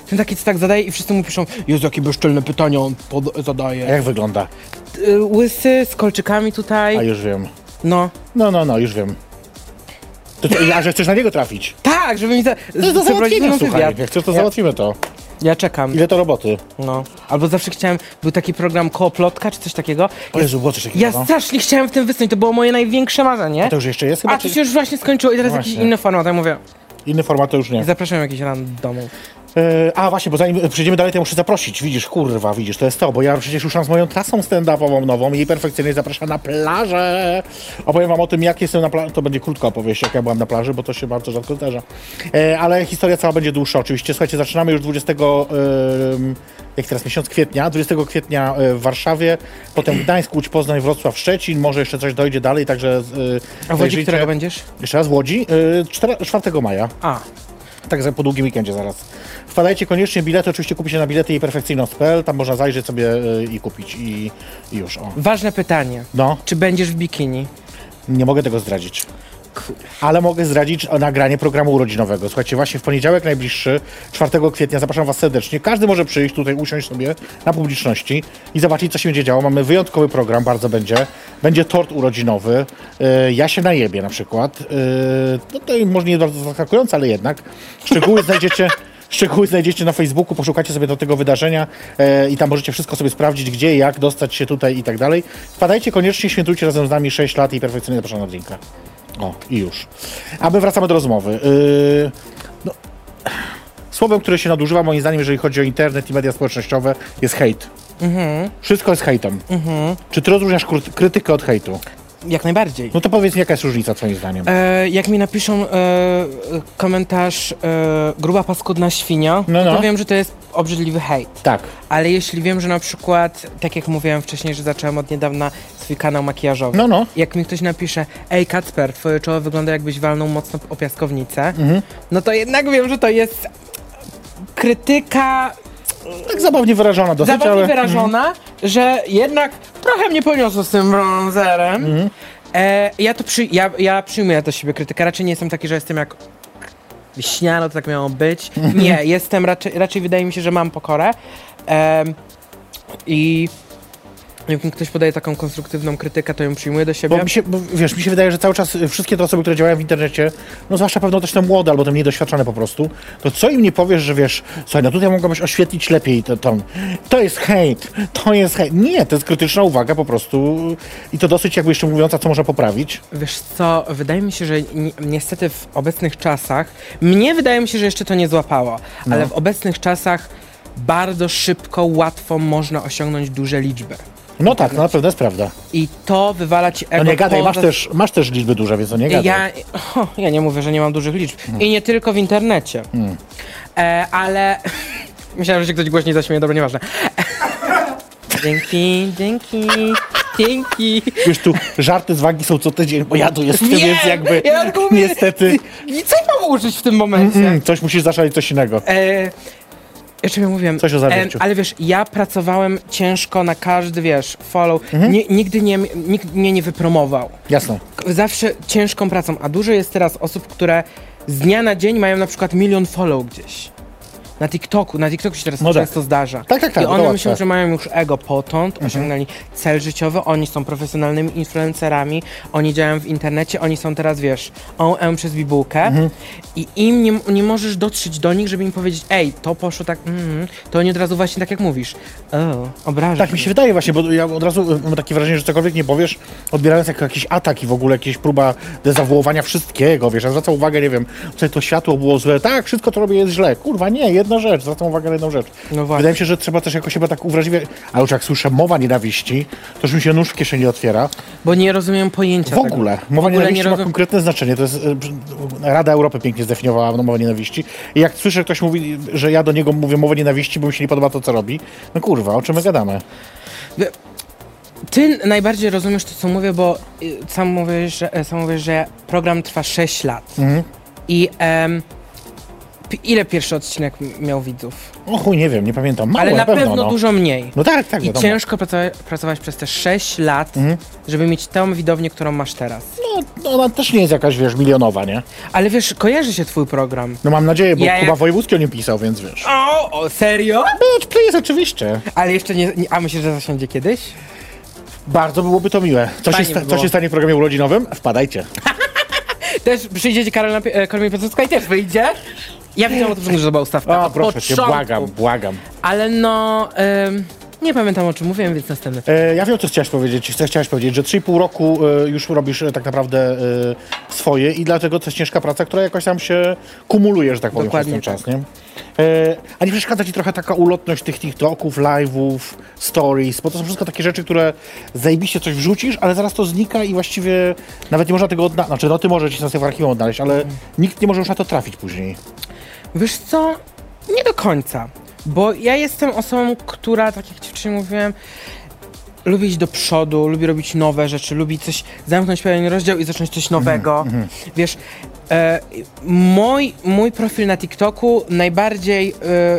[SPEAKER 3] ten taki, co tak zadaje i wszyscy mu piszą Jezu, jakie bezczelne pytania on pod-
[SPEAKER 2] A
[SPEAKER 3] zadaje.
[SPEAKER 2] jak wygląda?
[SPEAKER 3] Y, Łysy, z kolczykami
[SPEAKER 2] A
[SPEAKER 3] tutaj,
[SPEAKER 2] już wiem.
[SPEAKER 3] no.
[SPEAKER 2] No, no, no, już wiem. To, co, a że chcesz na niego trafić? No
[SPEAKER 3] Tak, żeby mi za-
[SPEAKER 2] To jest do załatwienia, słuchaj. Jak chcesz, to
[SPEAKER 3] ja,
[SPEAKER 2] załatwimy to.
[SPEAKER 3] ja czekam,
[SPEAKER 2] Ile to roboty?
[SPEAKER 3] no. Albo zawsze chciałem, był taki program Kooplotka, czy coś takiego.
[SPEAKER 2] O Jezu, było coś takiego.
[SPEAKER 3] Ja strasznie chciałem w tym wystąpić, to było moje największe marzenie.
[SPEAKER 2] No. A to już jeszcze jest chyba?
[SPEAKER 3] A to
[SPEAKER 2] czy-
[SPEAKER 3] się już właśnie skończyło i teraz
[SPEAKER 2] No
[SPEAKER 3] jakiś
[SPEAKER 2] właśnie.
[SPEAKER 3] inny format, ja mówię.
[SPEAKER 2] Inny format to już nie.
[SPEAKER 3] Zapraszam jakiś randomów.
[SPEAKER 2] E, a właśnie, bo zanim przejdziemy dalej, to ja muszę zaprosić. Widzisz, kurwa, widzisz, to jest to, bo ja przecież ruszam z moją trasą stand-upową nową i jej perfekcyjnie zapraszam na plażę. Opowiem wam o tym, jak jestem na plaży. To będzie krótka opowieść, jak ja byłam na plaży, bo to się bardzo rzadko zdarza. E, ale historia cała będzie dłuższa oczywiście. Słuchajcie, zaczynamy już 20, em, jak teraz miesiąc kwietnia, 20 kwietnia e, w Warszawie, potem Gdańsk, Łódź, Poznań, Wrocław, Szczecin, może jeszcze coś dojdzie dalej, także... E,
[SPEAKER 3] A wodzi,
[SPEAKER 2] zajrzyjcie.
[SPEAKER 3] którego będziesz?
[SPEAKER 2] Jeszcze raz w Łodzi, e, cztera- 4 maja.
[SPEAKER 3] A,
[SPEAKER 2] Tak, za- po długim weekendzie zaraz. Wpadajcie koniecznie, bilety oczywiście kupicie na bilety i perfekcyjność.pl, tam można zajrzeć sobie y, i kupić i, i już, o.
[SPEAKER 3] ważne pytanie.
[SPEAKER 2] No,
[SPEAKER 3] Czy będziesz w bikini?
[SPEAKER 2] nie mogę tego zdradzić.
[SPEAKER 3] Kur-
[SPEAKER 2] Ale mogę zdradzić o, nagranie programu urodzinowego. Słuchajcie, właśnie w poniedziałek najbliższy, 4 kwietnia, zapraszam Was serdecznie. Każdy może przyjść tutaj, usiąść sobie na publiczności i zobaczyć, co się będzie działo. Mamy wyjątkowy program, bardzo będzie. Będzie tort urodzinowy. y, ja się najebie na przykład. Y, no to i może nie bardzo zaskakujące, ale jednak. Szczegóły znajdziecie... Szczegóły znajdziecie na Facebooku, poszukacie sobie do tego wydarzenia e, i tam możecie wszystko sobie sprawdzić, gdzie, jak, dostać się tutaj i tak dalej. Wpadajcie koniecznie, świętujcie razem z nami 6 lat i perfekcyjnie zapraszam na drinka. O, i już. A my wracamy do rozmowy. Yy, no, słowem, które się nadużywa moim zdaniem, jeżeli chodzi o internet i media społecznościowe, jest hejt.
[SPEAKER 3] Mhm.
[SPEAKER 2] Wszystko jest hejtem. Czy ty rozróżniasz kurt- krytykę od hejtu?
[SPEAKER 3] Jak najbardziej.
[SPEAKER 2] No to powiedz mi, jaka jest różnica twoim zdaniem?
[SPEAKER 3] E, jak mi napiszą e, e, komentarz e, gruba paskudna świnia,
[SPEAKER 2] No, no.
[SPEAKER 3] to wiem, że to jest obrzydliwy hejt.
[SPEAKER 2] Tak.
[SPEAKER 3] Ale jeśli wiem, że na przykład, tak jak mówiłem wcześniej, że zacząłem od niedawna swój kanał makijażowy.
[SPEAKER 2] No, no.
[SPEAKER 3] Jak mi ktoś napisze, ej Kacper, twoje czoło wygląda jakbyś walnął mocno o piaskownicę,
[SPEAKER 2] Mhm.
[SPEAKER 3] no to jednak wiem, że to jest krytyka
[SPEAKER 2] Tak zabawnie wyrażona dosyć,
[SPEAKER 3] zabawnie
[SPEAKER 2] ale...
[SPEAKER 3] wyrażona, że jednak trochę mnie poniosło z tym bronzerem.
[SPEAKER 2] Mhm.
[SPEAKER 3] E, ja to przy, ja, ja przyjmuję do siebie krytykę. Raczej nie jestem taki, że jestem jak wiśniano, to tak miało być.
[SPEAKER 2] Mhm.
[SPEAKER 3] Nie, jestem raczej, raczej wydaje mi się, że mam pokorę. Em, I jak mi ktoś podaje taką konstruktywną krytykę, to ją przyjmuję do siebie.
[SPEAKER 2] Bo mi się, bo wiesz, mi się wydaje, że cały czas y, wszystkie te osoby, które działają w internecie, no zwłaszcza pewno też te młode albo te mniej doświadczone po prostu, to co im nie powiesz, że wiesz, słuchaj, no tutaj mogłabyś oświetlić lepiej ten ton. To jest hejt, to jest hejt. Nie, to jest krytyczna uwaga po prostu i to dosyć jakby jeszcze mówiąca, co można poprawić.
[SPEAKER 3] Wiesz co, wydaje mi się, że ni- niestety w obecnych czasach, mnie wydaje mi się, że jeszcze to nie złapało,
[SPEAKER 2] No.
[SPEAKER 3] ale w obecnych czasach bardzo szybko, łatwo można osiągnąć duże liczby.
[SPEAKER 2] No tak, no na pewno jest prawda.
[SPEAKER 3] I to wywala ci
[SPEAKER 2] No
[SPEAKER 3] ego
[SPEAKER 2] nie gadaj,
[SPEAKER 3] poza...
[SPEAKER 2] masz też, masz też liczby duże, więc no nie gadaj. Mm.
[SPEAKER 3] Ja, o, ja nie mówię, że nie mam dużych liczb. I nie tylko w internecie. E, ale... Myślałem, że się ktoś głośniej zaśmieje, dobra, nieważne. dzięki, dzięki, dzięki.
[SPEAKER 2] Wiesz, tu żarty z wagi są co tydzień, bo ja tu jestem,
[SPEAKER 3] Wiem,
[SPEAKER 2] więc jakby
[SPEAKER 3] ja tylko mówię-
[SPEAKER 2] niestety
[SPEAKER 3] I co ja mam użyć w tym momencie?
[SPEAKER 2] mm, coś musisz zaszalić, coś innego.
[SPEAKER 3] E, jeszcze mi mówiłem. E,
[SPEAKER 2] Coś o zawierciu.
[SPEAKER 3] ale wiesz, ja pracowałem ciężko na każdy, wiesz, follow.
[SPEAKER 2] Mhm.
[SPEAKER 3] Nie, nigdy nie, nikt mnie nie wypromował.
[SPEAKER 2] Jasne.
[SPEAKER 3] Zawsze ciężką pracą, a dużo jest teraz osób, które z dnia na dzień mają na przykład milion follow gdzieś. Na TikToku, na TikToku się teraz
[SPEAKER 2] No tak.
[SPEAKER 3] często zdarza.
[SPEAKER 2] Tak, tak, tak,
[SPEAKER 3] I
[SPEAKER 2] to łatwe.
[SPEAKER 3] one
[SPEAKER 2] Mhm.
[SPEAKER 3] myślą, że mają już ego potąd, osiągnęli cel życiowy, oni są profesjonalnymi influencerami, oni działają w internecie, oni są teraz, wiesz, OM przez bibułkę
[SPEAKER 2] Mhm.
[SPEAKER 3] i im nie, nie możesz dotrzeć do nich, żeby im powiedzieć, ej, to poszło tak, mm, to oni od razu właśnie tak jak mówisz, o, obrażasz
[SPEAKER 2] Tak mi się wydaje właśnie, bo ja od razu e, mam takie wrażenie, że cokolwiek nie powiesz, odbierając jako jakiś atak i w ogóle jakieś próba dezawuowania wszystkiego, wiesz, ja zwracam uwagę, nie wiem, co to światło było złe, tak, wszystko to robię jest źle, kurwa nie, jedno jedna rzecz, zwracam uwagę na jedną rzecz.
[SPEAKER 3] No właśnie.
[SPEAKER 2] Wydaje mi się, że trzeba też jakoś chyba tak uwrażliwie, ale już jak słyszę mowa nienawiści, to już mi się nóż w kieszeni otwiera.
[SPEAKER 3] Bo nie rozumiem pojęcia
[SPEAKER 2] W ogóle.
[SPEAKER 3] Tego.
[SPEAKER 2] Mowa
[SPEAKER 3] Tak. W ogóle
[SPEAKER 2] nienawiści
[SPEAKER 3] nie
[SPEAKER 2] ma
[SPEAKER 3] rozum...
[SPEAKER 2] konkretne znaczenie. To jest, e, przy- Rada Europy pięknie zdefiniowała mowę nienawiści. I jak słyszę, ktoś mówi, że ja do niego mówię mowę nienawiści, bo mi się nie podoba to, co robi, no kurwa, o czym my gadamy?
[SPEAKER 3] Ty najbardziej rozumiesz to, co mówię, bo y, sam mówisz, że, e, sam mówisz, że program trwa 6 lat.
[SPEAKER 2] Mhm.
[SPEAKER 3] I em, pi- ile pierwszy odcinek m- miał widzów?
[SPEAKER 2] O chuj, nie wiem, nie pamiętam. Mało,
[SPEAKER 3] Ale na pewno,
[SPEAKER 2] no.
[SPEAKER 3] dużo mniej.
[SPEAKER 2] No tak, tak,
[SPEAKER 3] I
[SPEAKER 2] wiadomo. Mhm.
[SPEAKER 3] ciężko pracowa- pracować przez te 6 lat, żeby mieć tą widownię, którą masz teraz.
[SPEAKER 2] No, no, ona też nie jest jakaś, wiesz, milionowa, nie?
[SPEAKER 3] Ale wiesz, kojarzy się twój program.
[SPEAKER 2] No mam nadzieję, bo
[SPEAKER 3] Ja-
[SPEAKER 2] Kuba Wojewódzki o nim pisał, więc wiesz.
[SPEAKER 3] O, o serio?
[SPEAKER 2] No, to jest oczywiście.
[SPEAKER 3] Ale jeszcze nie, nie a myślisz, że zasiądzie kiedyś?
[SPEAKER 2] Bardzo byłoby to miłe. Co się,
[SPEAKER 3] Fajnie
[SPEAKER 2] sta-
[SPEAKER 3] by
[SPEAKER 2] co
[SPEAKER 3] było.
[SPEAKER 2] się stanie w programie urodzinowym? Wpadajcie.
[SPEAKER 3] Też przyjdziecie Karol na pi- e, Kormie Piasecka i też wyjdzie? Ja wiedziałam o tym, że to była ustawka.
[SPEAKER 2] O,
[SPEAKER 3] od
[SPEAKER 2] proszę cię,
[SPEAKER 3] początku.
[SPEAKER 2] błagam, błagam.
[SPEAKER 3] Ale no, em, nie pamiętam o czym mówiłem, więc następny.
[SPEAKER 2] E, ja wiem, co chciałeś powiedzieć. Chcę, chciałeś powiedzieć, że 3,5 roku e, już robisz e, tak naprawdę e, swoje i dlatego to jest ciężka praca, która jakoś tam się kumuluje, że tak powiem,
[SPEAKER 3] Dokładnie
[SPEAKER 2] przez ten czas, nie? E, a nie przeszkadza ci trochę taka ulotność tych TikToków, live'ów, stories, bo to są wszystko takie rzeczy, które zajebiście coś wrzucisz, ale zaraz to znika i właściwie nawet nie można tego odnaleźć. Znaczy, no ty możesz się na sobie w archiwum odnaleźć, ale nikt nie może już na to trafić później.
[SPEAKER 3] Wiesz co? Nie do końca. Bo ja jestem osobą, która, tak jak ci wcześniej mówiłem, lubi iść do przodu, lubi robić nowe rzeczy, lubi coś, zamknąć pewien rozdział i zacząć coś nowego. Wiesz, e, mój, mój profil na TikToku najbardziej e,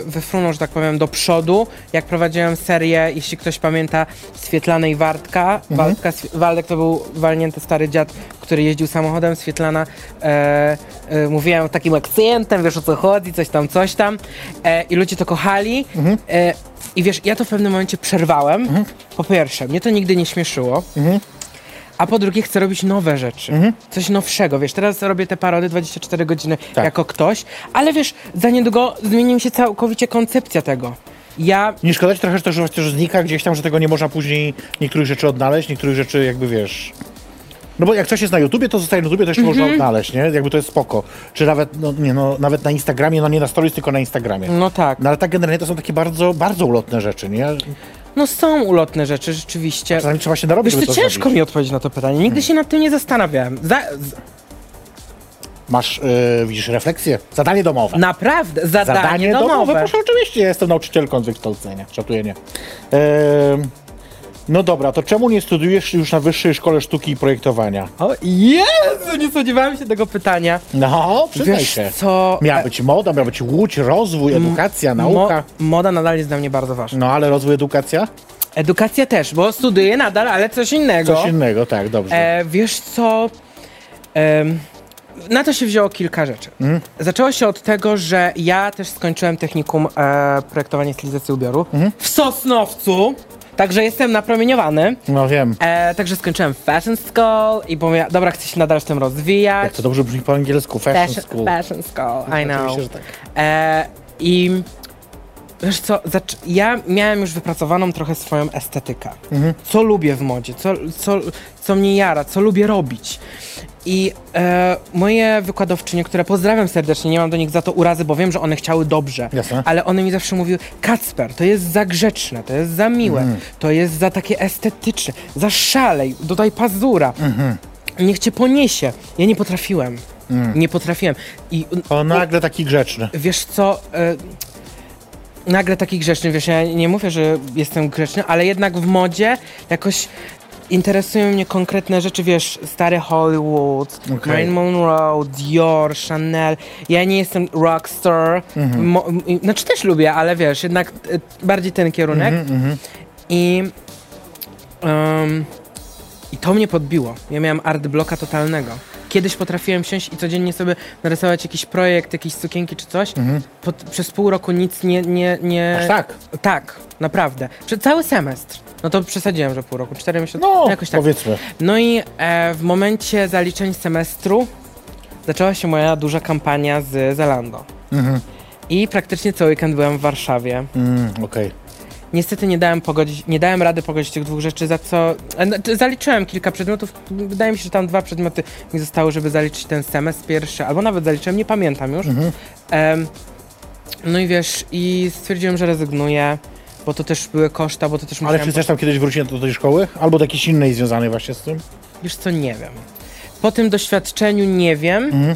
[SPEAKER 3] wyfrunął, że tak powiem, do przodu, jak prowadziłem serię, jeśli ktoś pamięta, Swietlana i Wartka. Waldka, Swi- Waldek to był walnięty stary dziad, który jeździł samochodem, Swietlana e, e, mówiłem takim akcentem, wiesz o co chodzi, coś tam, coś tam. E, I ludzie to kochali. E, i wiesz, ja to w pewnym momencie przerwałem.
[SPEAKER 2] Mhm.
[SPEAKER 3] Po pierwsze, mnie to nigdy nie śmieszyło. A po drugie, chcę robić nowe rzeczy.
[SPEAKER 2] Mhm.
[SPEAKER 3] Coś nowszego, wiesz. Teraz robię te parody 24 godziny
[SPEAKER 2] Tak.
[SPEAKER 3] jako ktoś, ale wiesz, za niedługo zmieni mi się całkowicie koncepcja tego. Ja
[SPEAKER 2] Nie szkoda ci trochę, że to że właśnie znika gdzieś tam, że tego nie można później niektórych rzeczy odnaleźć, niektórych rzeczy jakby wiesz. No bo jak coś jest na YouTubie, to zostaje na YouTubie, też można
[SPEAKER 3] Mhm.
[SPEAKER 2] odnaleźć, nie? Jakby to jest spoko. Czy nawet, no, nie, no, nawet na Instagramie, no nie na stories, tylko na Instagramie.
[SPEAKER 3] No tak.
[SPEAKER 2] No ale tak generalnie to są takie bardzo, bardzo ulotne rzeczy, nie?
[SPEAKER 3] No są ulotne rzeczy, rzeczywiście.
[SPEAKER 2] Czasami trzeba się narobić,
[SPEAKER 3] Wiesz,
[SPEAKER 2] żeby
[SPEAKER 3] to
[SPEAKER 2] to
[SPEAKER 3] ciężko
[SPEAKER 2] zrobić. Mhm.
[SPEAKER 3] mi odpowiedzieć na to pytanie. Nigdy się nad tym nie zastanawiałem. Za, z,
[SPEAKER 2] Masz, yy, widzisz, refleksję, zadanie domowe.
[SPEAKER 3] naprawdę, zadanie,
[SPEAKER 2] Zadanie domowe.
[SPEAKER 3] domowe.
[SPEAKER 2] proszę, oczywiście, ja jestem nauczycielką z wykształcenia, szatuję nie. Em, no dobra, to czemu nie studiujesz już na Wyższej Szkole Sztuki i Projektowania?
[SPEAKER 3] O, Jezu, nie spodziewałem się tego pytania.
[SPEAKER 2] No, przyznaj
[SPEAKER 3] Wiesz
[SPEAKER 2] się.
[SPEAKER 3] co? Mm,
[SPEAKER 2] Miała być moda, miała być łódź, rozwój, edukacja, nauka.
[SPEAKER 3] Mo- moda nadal jest dla mnie bardzo ważna.
[SPEAKER 2] No ale rozwój, edukacja?
[SPEAKER 3] Edukacja też, bo studiuję nadal, ale coś innego.
[SPEAKER 2] Coś innego, tak, dobrze.
[SPEAKER 3] E, wiesz co? Em, na to się wzięło kilka rzeczy.
[SPEAKER 2] Mhm.
[SPEAKER 3] Zaczęło się od tego, że ja też skończyłem technikum e, projektowania stylizacji ubioru
[SPEAKER 2] Mhm.
[SPEAKER 3] w Sosnowcu, także jestem napromieniowany.
[SPEAKER 2] No wiem.
[SPEAKER 3] E, także skończyłem fashion school i pomyślałem, dobra, chcę się nadal w tym rozwijać.
[SPEAKER 2] Jak to dobrze brzmi po angielsku, fashion school.
[SPEAKER 3] Fashion school, e, I know.
[SPEAKER 2] Oczywiście, że tak.
[SPEAKER 3] E, I wiesz co, zac- ja miałem już wypracowaną trochę swoją estetykę. Co lubię w modzie, co, co, co mnie jara, co lubię robić. I e, moje wykładowczynie, które pozdrawiam serdecznie, nie mam do nich za to urazy, bo wiem, że one chciały dobrze,
[SPEAKER 2] Jasne.
[SPEAKER 3] ale one mi zawsze mówiły, Kacper, to jest za grzeczne, to jest za miłe, to jest za takie estetyczne, za szalej, dodaj pazura, niech cię poniesie. Ja nie potrafiłem, nie potrafiłem. I
[SPEAKER 2] O, nagle taki grzeczny.
[SPEAKER 3] wiesz co, y, nagle taki grzeczny, wiesz, ja nie mówię, że jestem grzeczny, ale jednak w modzie jakoś interesują mnie konkretne rzeczy, wiesz, stary Hollywood,
[SPEAKER 2] Okej.
[SPEAKER 3] Marilyn Monroe, Dior, Chanel. Ja nie jestem rockstar, mo- m- i- znaczy też lubię, ale wiesz, jednak y, bardziej ten kierunek. I... em, i to mnie podbiło. Ja miałem art bloka totalnego. Kiedyś potrafiłem siąść i codziennie sobie narysować jakiś projekt, jakieś sukienki czy coś. Pod, przez pół roku nic nie... nie, nie...
[SPEAKER 2] Mhm. Aż tak?
[SPEAKER 3] Tak, naprawdę. Przez cały semestr. No to przesadziłem, że pół roku, cztery miesiące,
[SPEAKER 2] No,
[SPEAKER 3] jakoś tak.
[SPEAKER 2] powiedzmy.
[SPEAKER 3] No i e, w momencie zaliczeń semestru zaczęła się moja duża kampania z Zalando.
[SPEAKER 2] Mhm.
[SPEAKER 3] I praktycznie cały weekend byłem w Warszawie.
[SPEAKER 2] Mm, Okej.
[SPEAKER 3] Niestety nie dałem, pogodzić, nie dałem rady pogodzić tych dwóch rzeczy, za co. e, no, t- Zaliczyłem kilka przedmiotów. Wydaje mi się, że tam dwa przedmioty mi zostały, żeby zaliczyć ten semestr pierwszy, albo nawet zaliczyłem, nie pamiętam już. Em, No i wiesz, i stwierdziłem, że rezygnuję, bo to też były koszta, bo to też
[SPEAKER 2] Ale
[SPEAKER 3] musiałem...
[SPEAKER 2] czy chcesz tam kiedyś wrócić do tej szkoły? Albo do jakiejś innej związanej właśnie z tym?
[SPEAKER 3] Wiesz co, nie wiem. Po tym doświadczeniu nie wiem.
[SPEAKER 2] Mhm.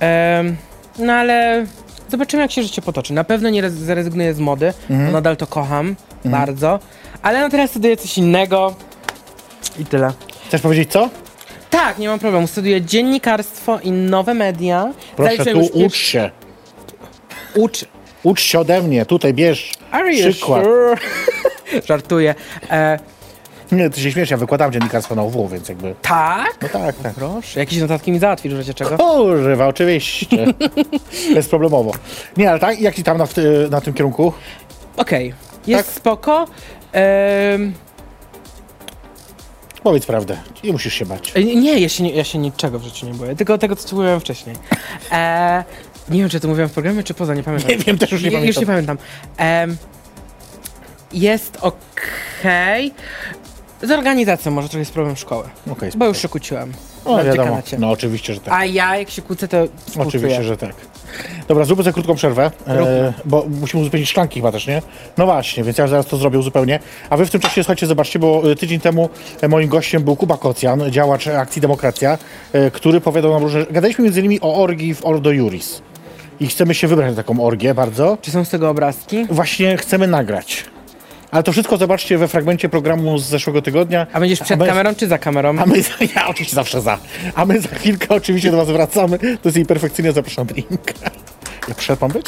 [SPEAKER 3] Em, no ale zobaczymy, jak się życie potoczy. Na pewno nie rez- zrezygnuję z mody,
[SPEAKER 2] Mhm.
[SPEAKER 3] bo nadal to kocham bardzo. Ale no teraz studiuję coś innego i tyle.
[SPEAKER 2] Chcesz powiedzieć co?
[SPEAKER 3] Tak, nie mam problemu. Studiuję dziennikarstwo i nowe media.
[SPEAKER 2] Proszę,
[SPEAKER 3] Zaliczyłem
[SPEAKER 2] tu
[SPEAKER 3] już pier-
[SPEAKER 2] ucz się.
[SPEAKER 3] ucz.
[SPEAKER 2] Ucz się ode mnie, tutaj bierz
[SPEAKER 3] Are you
[SPEAKER 2] przykład.
[SPEAKER 3] sure? Żartuję. E,
[SPEAKER 2] Nie, ty się śmiesz, ja wykładam dziennikarstwo na UW, więc jakby...
[SPEAKER 3] tak?
[SPEAKER 2] No tak, tak.
[SPEAKER 3] Proszę, jakieś notatki mi załatwisz w razie czego?
[SPEAKER 2] Kurwa, oczywiście. Bezproblemowo. Nie, ale tak, jak ci tam na, w ty- na tym kierunku?
[SPEAKER 3] Okej, jest
[SPEAKER 2] Tak.
[SPEAKER 3] spoko. Em,
[SPEAKER 2] Powiedz prawdę, nie musisz się bać.
[SPEAKER 3] E, Nie, ja się, nie- ja się niczego w życiu nie boję, tylko tego, co ci mówiłem wcześniej. E, nie wiem, czy to mówiłem w programie, czy poza, nie pamiętam.
[SPEAKER 2] Nie wiem, też już nie
[SPEAKER 3] Ju- Już nie
[SPEAKER 2] pamiętam.
[SPEAKER 3] pamiętam. Em, jest okej. Z organizacją może trochę jest problem szkoły,
[SPEAKER 2] Okej,
[SPEAKER 3] bo już się kłóciłem.
[SPEAKER 2] no,
[SPEAKER 3] na
[SPEAKER 2] wiadomo.
[SPEAKER 3] dziekanacie.
[SPEAKER 2] No oczywiście, że tak.
[SPEAKER 3] A ja, jak się kłócę, to współczuję.
[SPEAKER 2] Oczywiście, że tak. Dobra, zróbmy sobie krótką przerwę, e,
[SPEAKER 3] Róbmy.
[SPEAKER 2] bo musimy uzupełnić szklanki chyba też, nie? No właśnie, więc ja zaraz to zrobię zupełnie. A wy w tym czasie, słuchajcie, zobaczcie, bo e, tydzień temu e, moim gościem był Kuba Kocjan, działacz Akcji Demokracja, e, który powiadał nam różne... Gadaliśmy między innymi o orgii w Ordo Juris. I chcemy się wybrać na taką orgię bardzo.
[SPEAKER 3] Czy są z tego obrazki?
[SPEAKER 2] Właśnie chcemy nagrać. Ale to wszystko zobaczcie we fragmencie programu z zeszłego tygodnia.
[SPEAKER 3] A będziesz przed
[SPEAKER 2] my-
[SPEAKER 3] kamerą, czy za kamerą?
[SPEAKER 2] A my, za- ja oczywiście zawsze za. A my za chwilkę oczywiście do was wracamy. To jest jej perfekcyjnie zapraszam drinka. Ja przed mam być?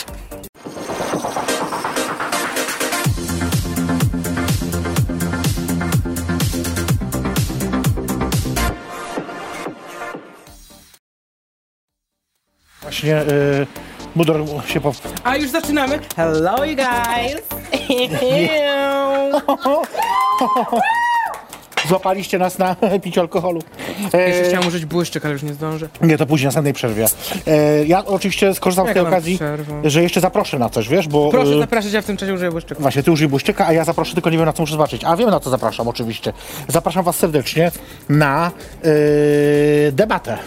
[SPEAKER 2] Właśnie y, Mudor się po...
[SPEAKER 3] A już zaczynamy. Hello, you guys!
[SPEAKER 2] Złapaliście nas na piciu alkoholu.
[SPEAKER 3] Jeszcze
[SPEAKER 2] E,
[SPEAKER 3] chciałam użyć błyszczyk, ale już nie zdążę.
[SPEAKER 2] Nie, to później, na następnej przerwie. E, ja oczywiście skorzystam z
[SPEAKER 3] Jaka
[SPEAKER 2] tej
[SPEAKER 3] nam
[SPEAKER 2] okazji,
[SPEAKER 3] przerwa?
[SPEAKER 2] że jeszcze zaproszę na coś, wiesz, bo...
[SPEAKER 3] Proszę
[SPEAKER 2] e,
[SPEAKER 3] zapraszać, ja w tym czasie użyję błyszczyku.
[SPEAKER 2] Właśnie, ty użyj błyszczyka, a ja zaproszę, tylko nie wiem na co muszę zobaczyć. A wiem na co zapraszam, oczywiście. Zapraszam was serdecznie na e, debatę,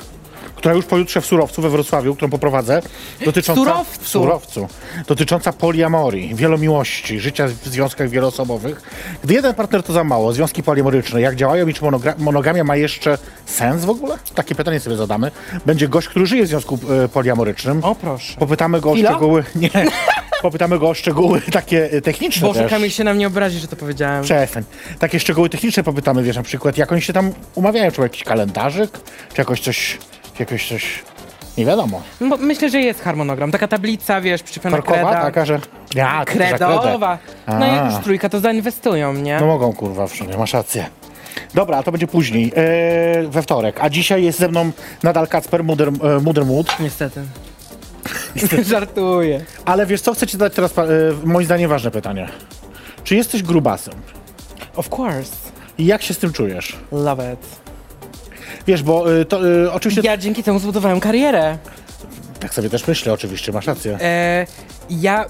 [SPEAKER 2] która już pojutrze w Surowcu we Wrocławiu, którą poprowadzę, dotycząca...
[SPEAKER 3] Surowcu?
[SPEAKER 2] W Surowcu. Dotycząca poliamorii, wielomiłości, życia w związkach wieloosobowych. Gdy jeden partner to za mało, związki poliamoryczne, jak działają i czy monogra- monogamia ma jeszcze sens w ogóle? Takie pytanie sobie zadamy. Będzie gość, który żyje w związku e, poliamorycznym.
[SPEAKER 3] O proszę.
[SPEAKER 2] Popytamy go o
[SPEAKER 3] Chwila?
[SPEAKER 2] szczegóły. Nie. Popytamy go o szczegóły takie e, techniczne.
[SPEAKER 3] Boże,
[SPEAKER 2] też.
[SPEAKER 3] Kamil się na mnie obrazi, że to powiedziałem.
[SPEAKER 2] Przestań. Takie szczegóły techniczne popytamy, wiesz, na przykład, jak oni się tam umawiają, czy jakiś kalendarzyk, czy jakoś coś, czy jakoś coś, nie wiadomo.
[SPEAKER 3] Bo myślę, że jest harmonogram. Taka tablica, wiesz, przyczepiona
[SPEAKER 2] Parkowa
[SPEAKER 3] kreda.
[SPEAKER 2] taka, że... Ja, to za kredę.
[SPEAKER 3] Kredowa. No
[SPEAKER 2] A.
[SPEAKER 3] jak już trójka, to zainwestują, nie?
[SPEAKER 2] No mogą, kurwa, w sumie, masz rację. Dobra, a to będzie później, e, we wtorek. A dzisiaj jest ze mną nadal Kacper Muder, e, Muder Mud.
[SPEAKER 3] Niestety. Żartuję.
[SPEAKER 2] Ale wiesz co, chcę ci zadać teraz, pa- e, moim zdaniem, ważne pytanie. Czy jesteś grubasem?
[SPEAKER 3] Of course.
[SPEAKER 2] I jak się z tym czujesz?
[SPEAKER 3] Love it.
[SPEAKER 2] Wiesz, bo e, to e, oczywiście...
[SPEAKER 3] Ja dzięki temu zbudowałem karierę.
[SPEAKER 2] Tak sobie też myślę, oczywiście, masz rację.
[SPEAKER 3] E, ja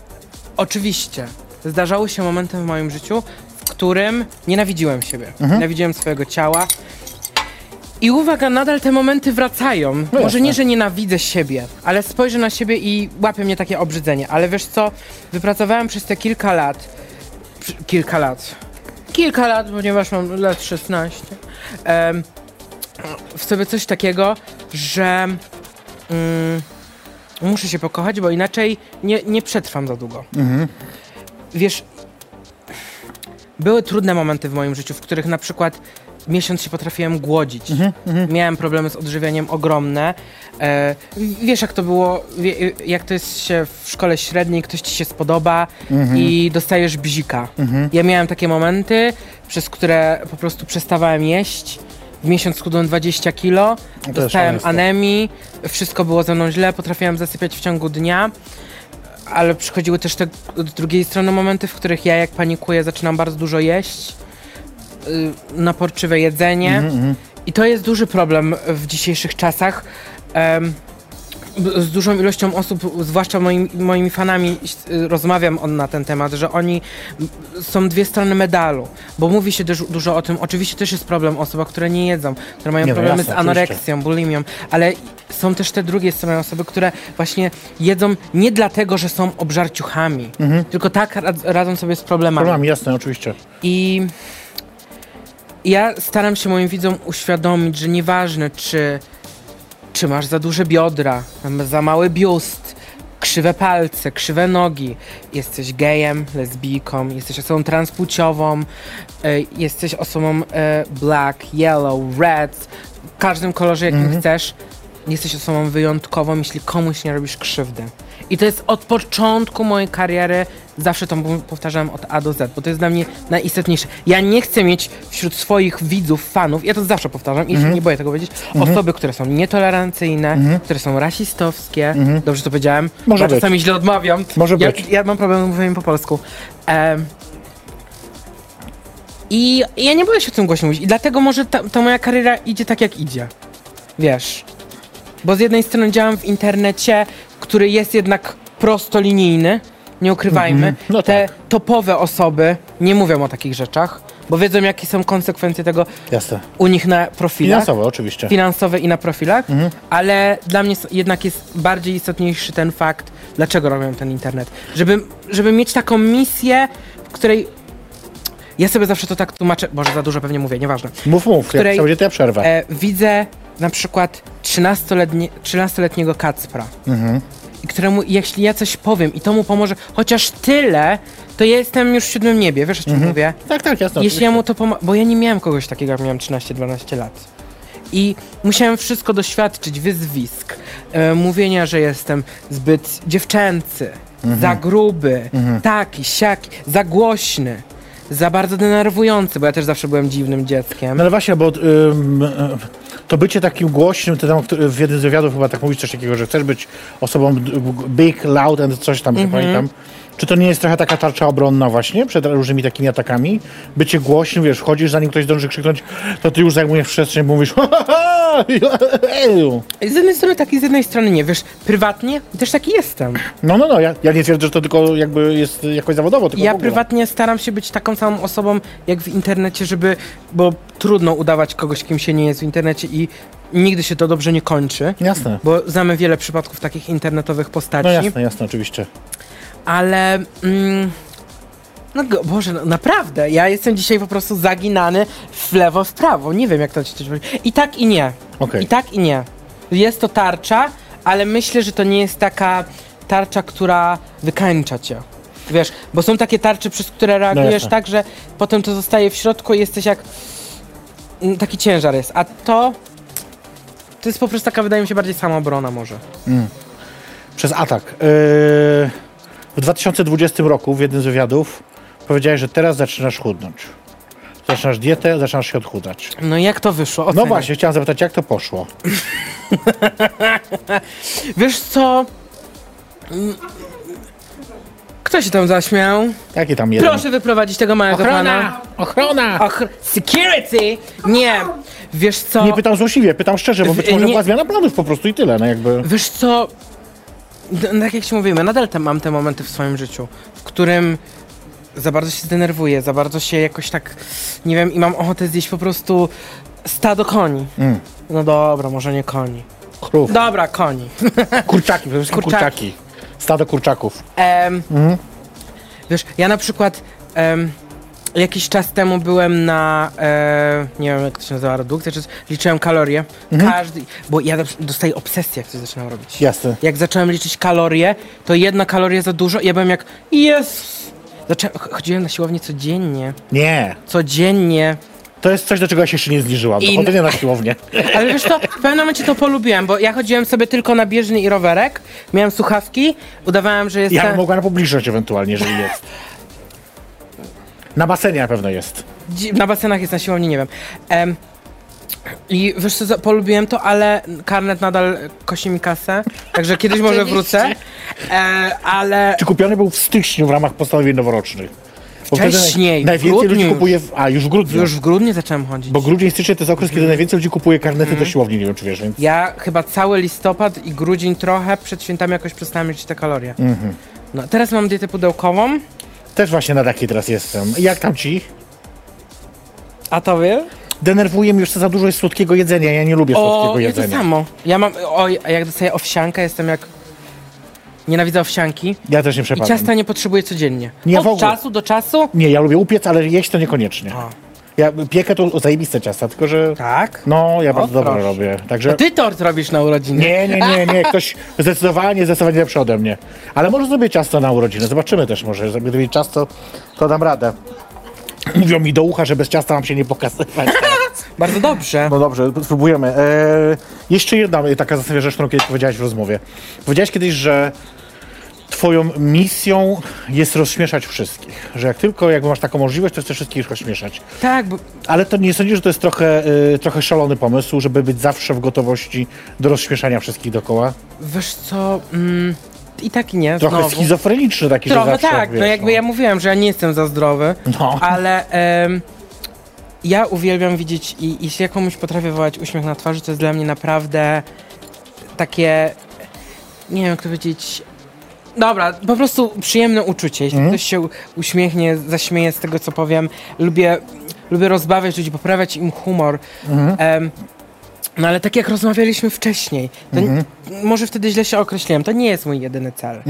[SPEAKER 3] oczywiście zdarzały się momenty w moim życiu, w którym nienawidziłem siebie. Nienawidziłem swojego ciała. I uwaga, nadal te momenty wracają. Może
[SPEAKER 2] jasne.
[SPEAKER 3] nie, że nienawidzę siebie, ale spojrzę na siebie i łapie mnie takie obrzydzenie. Ale wiesz co, wypracowałem przez te kilka lat. przy- Kilka lat. Kilka lat, ponieważ mam lat 16. em, w sobie coś takiego, że muszę się pokochać, bo inaczej nie, nie przetrwam za długo. Wiesz, były trudne momenty w moim życiu, w których na przykład miesiąc się potrafiłem głodzić. Miałem problemy z odżywianiem ogromne. E, wiesz, jak to było, wie, jak to jest się w szkole średniej, ktoś ci się spodoba i dostajesz bzika. Ja miałem takie momenty, przez które po prostu przestawałem jeść. W miesiąc schudłem 20 kilo, dostałem
[SPEAKER 2] szaleństwo.
[SPEAKER 3] anemii, wszystko było ze mną źle, potrafiłem zasypiać w ciągu dnia ale przychodziły też te od drugiej strony momenty, w których ja jak panikuję, zaczynam bardzo dużo jeść, y, naporczywe
[SPEAKER 2] Mhm,
[SPEAKER 3] jedzenie. I to jest duży problem w dzisiejszych czasach. Em, b- z dużą ilością osób, zwłaszcza moim, moimi fanami, y, rozmawiam on na ten temat, że oni m, są dwie strony medalu, bo mówi się też dużo o tym. Oczywiście też jest problem osób, które nie jedzą, które mają
[SPEAKER 2] Nie, no
[SPEAKER 3] problemy
[SPEAKER 2] jasne,
[SPEAKER 3] z anoreksją, bulimią, ale są też te drugie strony osoby, które właśnie jedzą nie dlatego, że są obżarciuchami, tylko tak rad- radzą sobie z problemami.
[SPEAKER 2] Problem, jasne, oczywiście.
[SPEAKER 3] I ja staram się moim widzom uświadomić, że nieważne, czy, czy masz za duże biodra, za mały biust, krzywe palce, krzywe nogi, jesteś gejem, lesbijką, jesteś osobą transpłciową, y, jesteś osobą y, black, yellow, red, w każdym kolorze, jakim chcesz, jesteś osobą wyjątkową, jeśli komuś nie robisz krzywdy. I to jest od początku mojej kariery, zawsze to mów- powtarzam od A do Z, bo to jest dla mnie najistotniejsze. Ja nie chcę mieć wśród swoich widzów, fanów, ja to zawsze powtarzam i
[SPEAKER 2] Mhm.
[SPEAKER 3] się nie boję tego powiedzieć, osoby, które są nietolerancyjne, które są rasistowskie, dobrze to powiedziałem,
[SPEAKER 2] Mhm. Może
[SPEAKER 3] bo
[SPEAKER 2] być.
[SPEAKER 3] czasami źle odmawiam.
[SPEAKER 2] Może
[SPEAKER 3] ja,
[SPEAKER 2] być.
[SPEAKER 3] Ja mam problem z mówieniem po polsku. Em, i ja nie boję się o tym głośno mówić. I dlatego może ta, ta moja kariera idzie tak, jak idzie. Wiesz. Bo z jednej strony działam w internecie, który jest jednak prostolinijny, nie ukrywajmy.
[SPEAKER 2] No
[SPEAKER 3] Te
[SPEAKER 2] tak.
[SPEAKER 3] topowe osoby nie mówią o takich rzeczach, bo wiedzą, jakie są konsekwencje tego
[SPEAKER 2] Jasne.
[SPEAKER 3] u nich na profilach
[SPEAKER 2] Finansowo, oczywiście.
[SPEAKER 3] finansowe i na profilach,
[SPEAKER 2] Mhm.
[SPEAKER 3] ale dla mnie s- jednak jest bardziej istotniejszy ten fakt, dlaczego robią ten internet. Żeby, żeby mieć taką misję, w której ja sobie zawsze to tak tłumaczę, może za dużo pewnie mówię, nieważne,
[SPEAKER 2] Mów, mów,
[SPEAKER 3] której-
[SPEAKER 2] jak będzie, to ja przerwę.
[SPEAKER 3] e, widzę na przykład 13-letnie, 13-letniego Kacpra, i któremu jeśli ja coś powiem i to mu pomoże chociaż tyle, to ja jestem już w siódmym niebie, wiesz o czym mówię?
[SPEAKER 2] tak, tak, jasne.
[SPEAKER 3] Jeśli
[SPEAKER 2] oczywiście.
[SPEAKER 3] ja mu to pomogę, bo ja nie miałem kogoś takiego, jak miałem 13-12 lat. I musiałem wszystko doświadczyć, wyzwisk, e, mówienia, że jestem zbyt dziewczęcy, za gruby, taki, siaki, za głośny, za bardzo denerwujący, bo ja też zawsze byłem dziwnym dzieckiem.
[SPEAKER 2] No ale właśnie, bo ym, y, to bycie takim głośnym, ty tam w jednym z wywiadów chyba tak mówisz coś takiego, że chcesz być osobą d- big, loud and coś tam, że pamiętam. Czy to nie jest trochę taka tarcza obronna właśnie przed różnymi takimi atakami? Bycie głośnym, wiesz, wchodzisz, zanim ktoś zdąży krzyknąć, to ty już zajmujesz przestrzeń, bo mówisz
[SPEAKER 3] Z jednej strony tak i z jednej strony nie, wiesz, prywatnie też taki jestem.
[SPEAKER 2] No, no, no, ja, ja nie twierdzę, że to tylko jakby jest jakoś zawodowo, tylko w
[SPEAKER 3] Ja
[SPEAKER 2] ogóle.
[SPEAKER 3] prywatnie staram się być taką samą osobą jak w internecie, żeby. bo trudno udawać kogoś, kim się nie jest w internecie i nigdy się to dobrze nie kończy.
[SPEAKER 2] Jasne.
[SPEAKER 3] Bo znamy wiele przypadków takich internetowych postaci,
[SPEAKER 2] No jasne, jasne, oczywiście.
[SPEAKER 3] ale. Mm, no go- Boże, no, naprawdę, ja jestem dzisiaj po prostu zaginany w lewo, w prawo. Nie wiem, jak to ci coś powiedzieć. I tak i nie.
[SPEAKER 2] Okej.
[SPEAKER 3] I tak i nie. Jest to tarcza, ale myślę, że to nie jest taka tarcza, która wykańcza cię. Wiesz, bo są takie tarcze, przez które reagujesz
[SPEAKER 2] No jasne.
[SPEAKER 3] tak, że potem to zostaje w środku i jesteś jak. mm, Taki ciężar jest. A to. To jest po prostu taka, wydaje mi się, bardziej samoobrona, może.
[SPEAKER 2] przez atak. Yy, W 2020 roku w jednym z wywiadów powiedziałeś, że teraz zaczynasz chudnąć. Zaczynasz dietę, zaczynasz się odchudzać.
[SPEAKER 3] No i jak to wyszło?
[SPEAKER 2] No
[SPEAKER 3] Oceniaj.
[SPEAKER 2] właśnie, chciałem zapytać, jak to poszło?
[SPEAKER 3] Wiesz co? Mm. Kto się tam zaśmiał?
[SPEAKER 2] Jaki tam jeden?
[SPEAKER 3] Proszę wyprowadzić tego małego pana.
[SPEAKER 2] Ochrona! Ochrona!
[SPEAKER 3] Och, security! Nie! Wiesz co?
[SPEAKER 2] Nie pytam złośliwie, pytam szczerze, bo
[SPEAKER 3] W-
[SPEAKER 2] być może
[SPEAKER 3] no. nie-
[SPEAKER 2] była zmiana planów po prostu i tyle, no jakby...
[SPEAKER 3] Wiesz co? D- Tak jak ci mówimy, nadal te, mam te momenty w swoim życiu, w którym za bardzo się zdenerwuję, za bardzo się jakoś tak, nie wiem, i mam ochotę zjeść po prostu stado koni.
[SPEAKER 2] Mm.
[SPEAKER 3] No dobra, może nie koni.
[SPEAKER 2] Krów.
[SPEAKER 3] Dobra, koni.
[SPEAKER 2] Tak, Kurczaki, przede wszystkim
[SPEAKER 3] Kurczaki.
[SPEAKER 2] kurczaki. Stado kurczaków.
[SPEAKER 3] Em, Wiesz, ja na przykład em, jakiś czas temu byłem na, e, nie wiem jak to się nazywa, redukcja, czy liczyłem kalorie.
[SPEAKER 2] Mhm.
[SPEAKER 3] Każdy, bo ja na przykład dostaję obsesję, jak coś zaczynam robić.
[SPEAKER 2] Jasne.
[SPEAKER 3] Jak zacząłem liczyć kalorie, to jedna kaloria za dużo i ja byłem jak, jest! Zaczę- ch- chodziłem na siłownię codziennie,
[SPEAKER 2] Nie.
[SPEAKER 3] codziennie.
[SPEAKER 2] To jest coś, do czego ja się jeszcze nie zniżyłam.
[SPEAKER 3] I-
[SPEAKER 2] I... Chodzenie na siłownię.
[SPEAKER 3] Ale wiesz co, w pewnym momencie to polubiłem, bo ja chodziłem sobie tylko na bieżny i rowerek, miałem słuchawki, udawałem, że
[SPEAKER 2] Ja
[SPEAKER 3] jestem...
[SPEAKER 2] bym mogła na publiczność ewentualnie, jeżeli jest. Na basenie na pewno jest.
[SPEAKER 3] Dzi- Na basenach jest na siłowni, nie wiem. Em, I wiesz co, za- polubiłem to, ale karnet nadal kosi mi kasę, także kiedyś może wrócę. E, ale
[SPEAKER 2] Czy kupiony był w styczniu w ramach postanowień noworocznych? Bo wtedy naj-
[SPEAKER 3] Wcześniej, w
[SPEAKER 2] Najwięcej ludzi
[SPEAKER 3] grudniu
[SPEAKER 2] kupuje... W, a, już w grudniu.
[SPEAKER 3] Już Mhm. w grudniu zacząłem chodzić.
[SPEAKER 2] Bo grudzień, styczeń to jest okres, kiedy najwięcej ludzi kupuje
[SPEAKER 3] Mhm.
[SPEAKER 2] karnety do siłowni, nie wiem czy wiesz, więc...
[SPEAKER 3] Ja chyba cały listopad i grudzień trochę przed świętami jakoś przestałem liczyć te kalorie.
[SPEAKER 2] Mhm.
[SPEAKER 3] No, teraz mam dietę pudełkową,
[SPEAKER 2] Też właśnie na takiej teraz jestem. Jak tam ci?
[SPEAKER 3] a tobie?
[SPEAKER 2] Denerwuje mnie już, co za dużo jest słodkiego jedzenia, ja nie lubię
[SPEAKER 3] O,
[SPEAKER 2] słodkiego
[SPEAKER 3] ja to
[SPEAKER 2] jedzenia.
[SPEAKER 3] samo. Ja mam, o, a jak dostaję owsiankę, jestem jak... Nienawidzę owsianki.
[SPEAKER 2] Ja też nie
[SPEAKER 3] I
[SPEAKER 2] przepadam.
[SPEAKER 3] ciasta nie potrzebuję codziennie.
[SPEAKER 2] Nie,
[SPEAKER 3] Od
[SPEAKER 2] w ogóle.
[SPEAKER 3] czasu do czasu?
[SPEAKER 2] Nie, ja lubię upiec, ale jeść to niekoniecznie.
[SPEAKER 3] A.
[SPEAKER 2] Ja piekę to zajebiste ciasta, tylko że...
[SPEAKER 3] Tak?
[SPEAKER 2] No, ja bardzo dobrze
[SPEAKER 3] proszę.
[SPEAKER 2] robię, także...
[SPEAKER 3] Ty tort robisz na urodziny.
[SPEAKER 2] Nie, nie, nie, nie, ktoś zdecydowanie, zdecydowanie lepszy ode mnie. Ale może zrobię ciasto na urodziny, zobaczymy też może. Zrobię zrobię ciasto, to dam radę. Mówią mi do ucha, że bez ciasta mam się nie pokazywać.
[SPEAKER 3] Bardzo dobrze.
[SPEAKER 2] No dobrze, spróbujemy. E, jeszcze jedna taka zasadnicza rzecz, którą kiedyś powiedziałaś w rozmowie. Powiedziałaś kiedyś, że twoją misją jest rozśmieszać wszystkich. Że jak tylko jakby masz taką możliwość, to chcesz wszystkich rozśmieszać.
[SPEAKER 3] Tak, bo
[SPEAKER 2] Ale to nie sądzisz, że to jest trochę, e, trochę szalony pomysł, żeby być zawsze w gotowości do rozśmieszania wszystkich dookoła?
[SPEAKER 3] wiesz co... Mm, I tak i nie,
[SPEAKER 2] Trochę
[SPEAKER 3] znowu.
[SPEAKER 2] schizofreniczny taki, że
[SPEAKER 3] Trochę
[SPEAKER 2] zawsze,
[SPEAKER 3] tak,
[SPEAKER 2] wiesz,
[SPEAKER 3] no jakby ja mówiłem, że ja nie jestem za zdrowy,
[SPEAKER 2] No.
[SPEAKER 3] ale em, ja uwielbiam widzieć i jeśli ja komuś potrafię wołać uśmiech na twarzy, to jest dla mnie naprawdę takie, nie wiem jak to powiedzieć, dobra, po prostu przyjemne uczucie, jeśli
[SPEAKER 2] Mhm.
[SPEAKER 3] ktoś się u- uśmiechnie, zaśmieje z tego co powiem, lubię, lubię rozbawiać ludzi, poprawiać im humor. Em, no ale tak jak rozmawialiśmy wcześniej, to n- może wtedy źle się określiłem, to nie jest mój jedyny cel.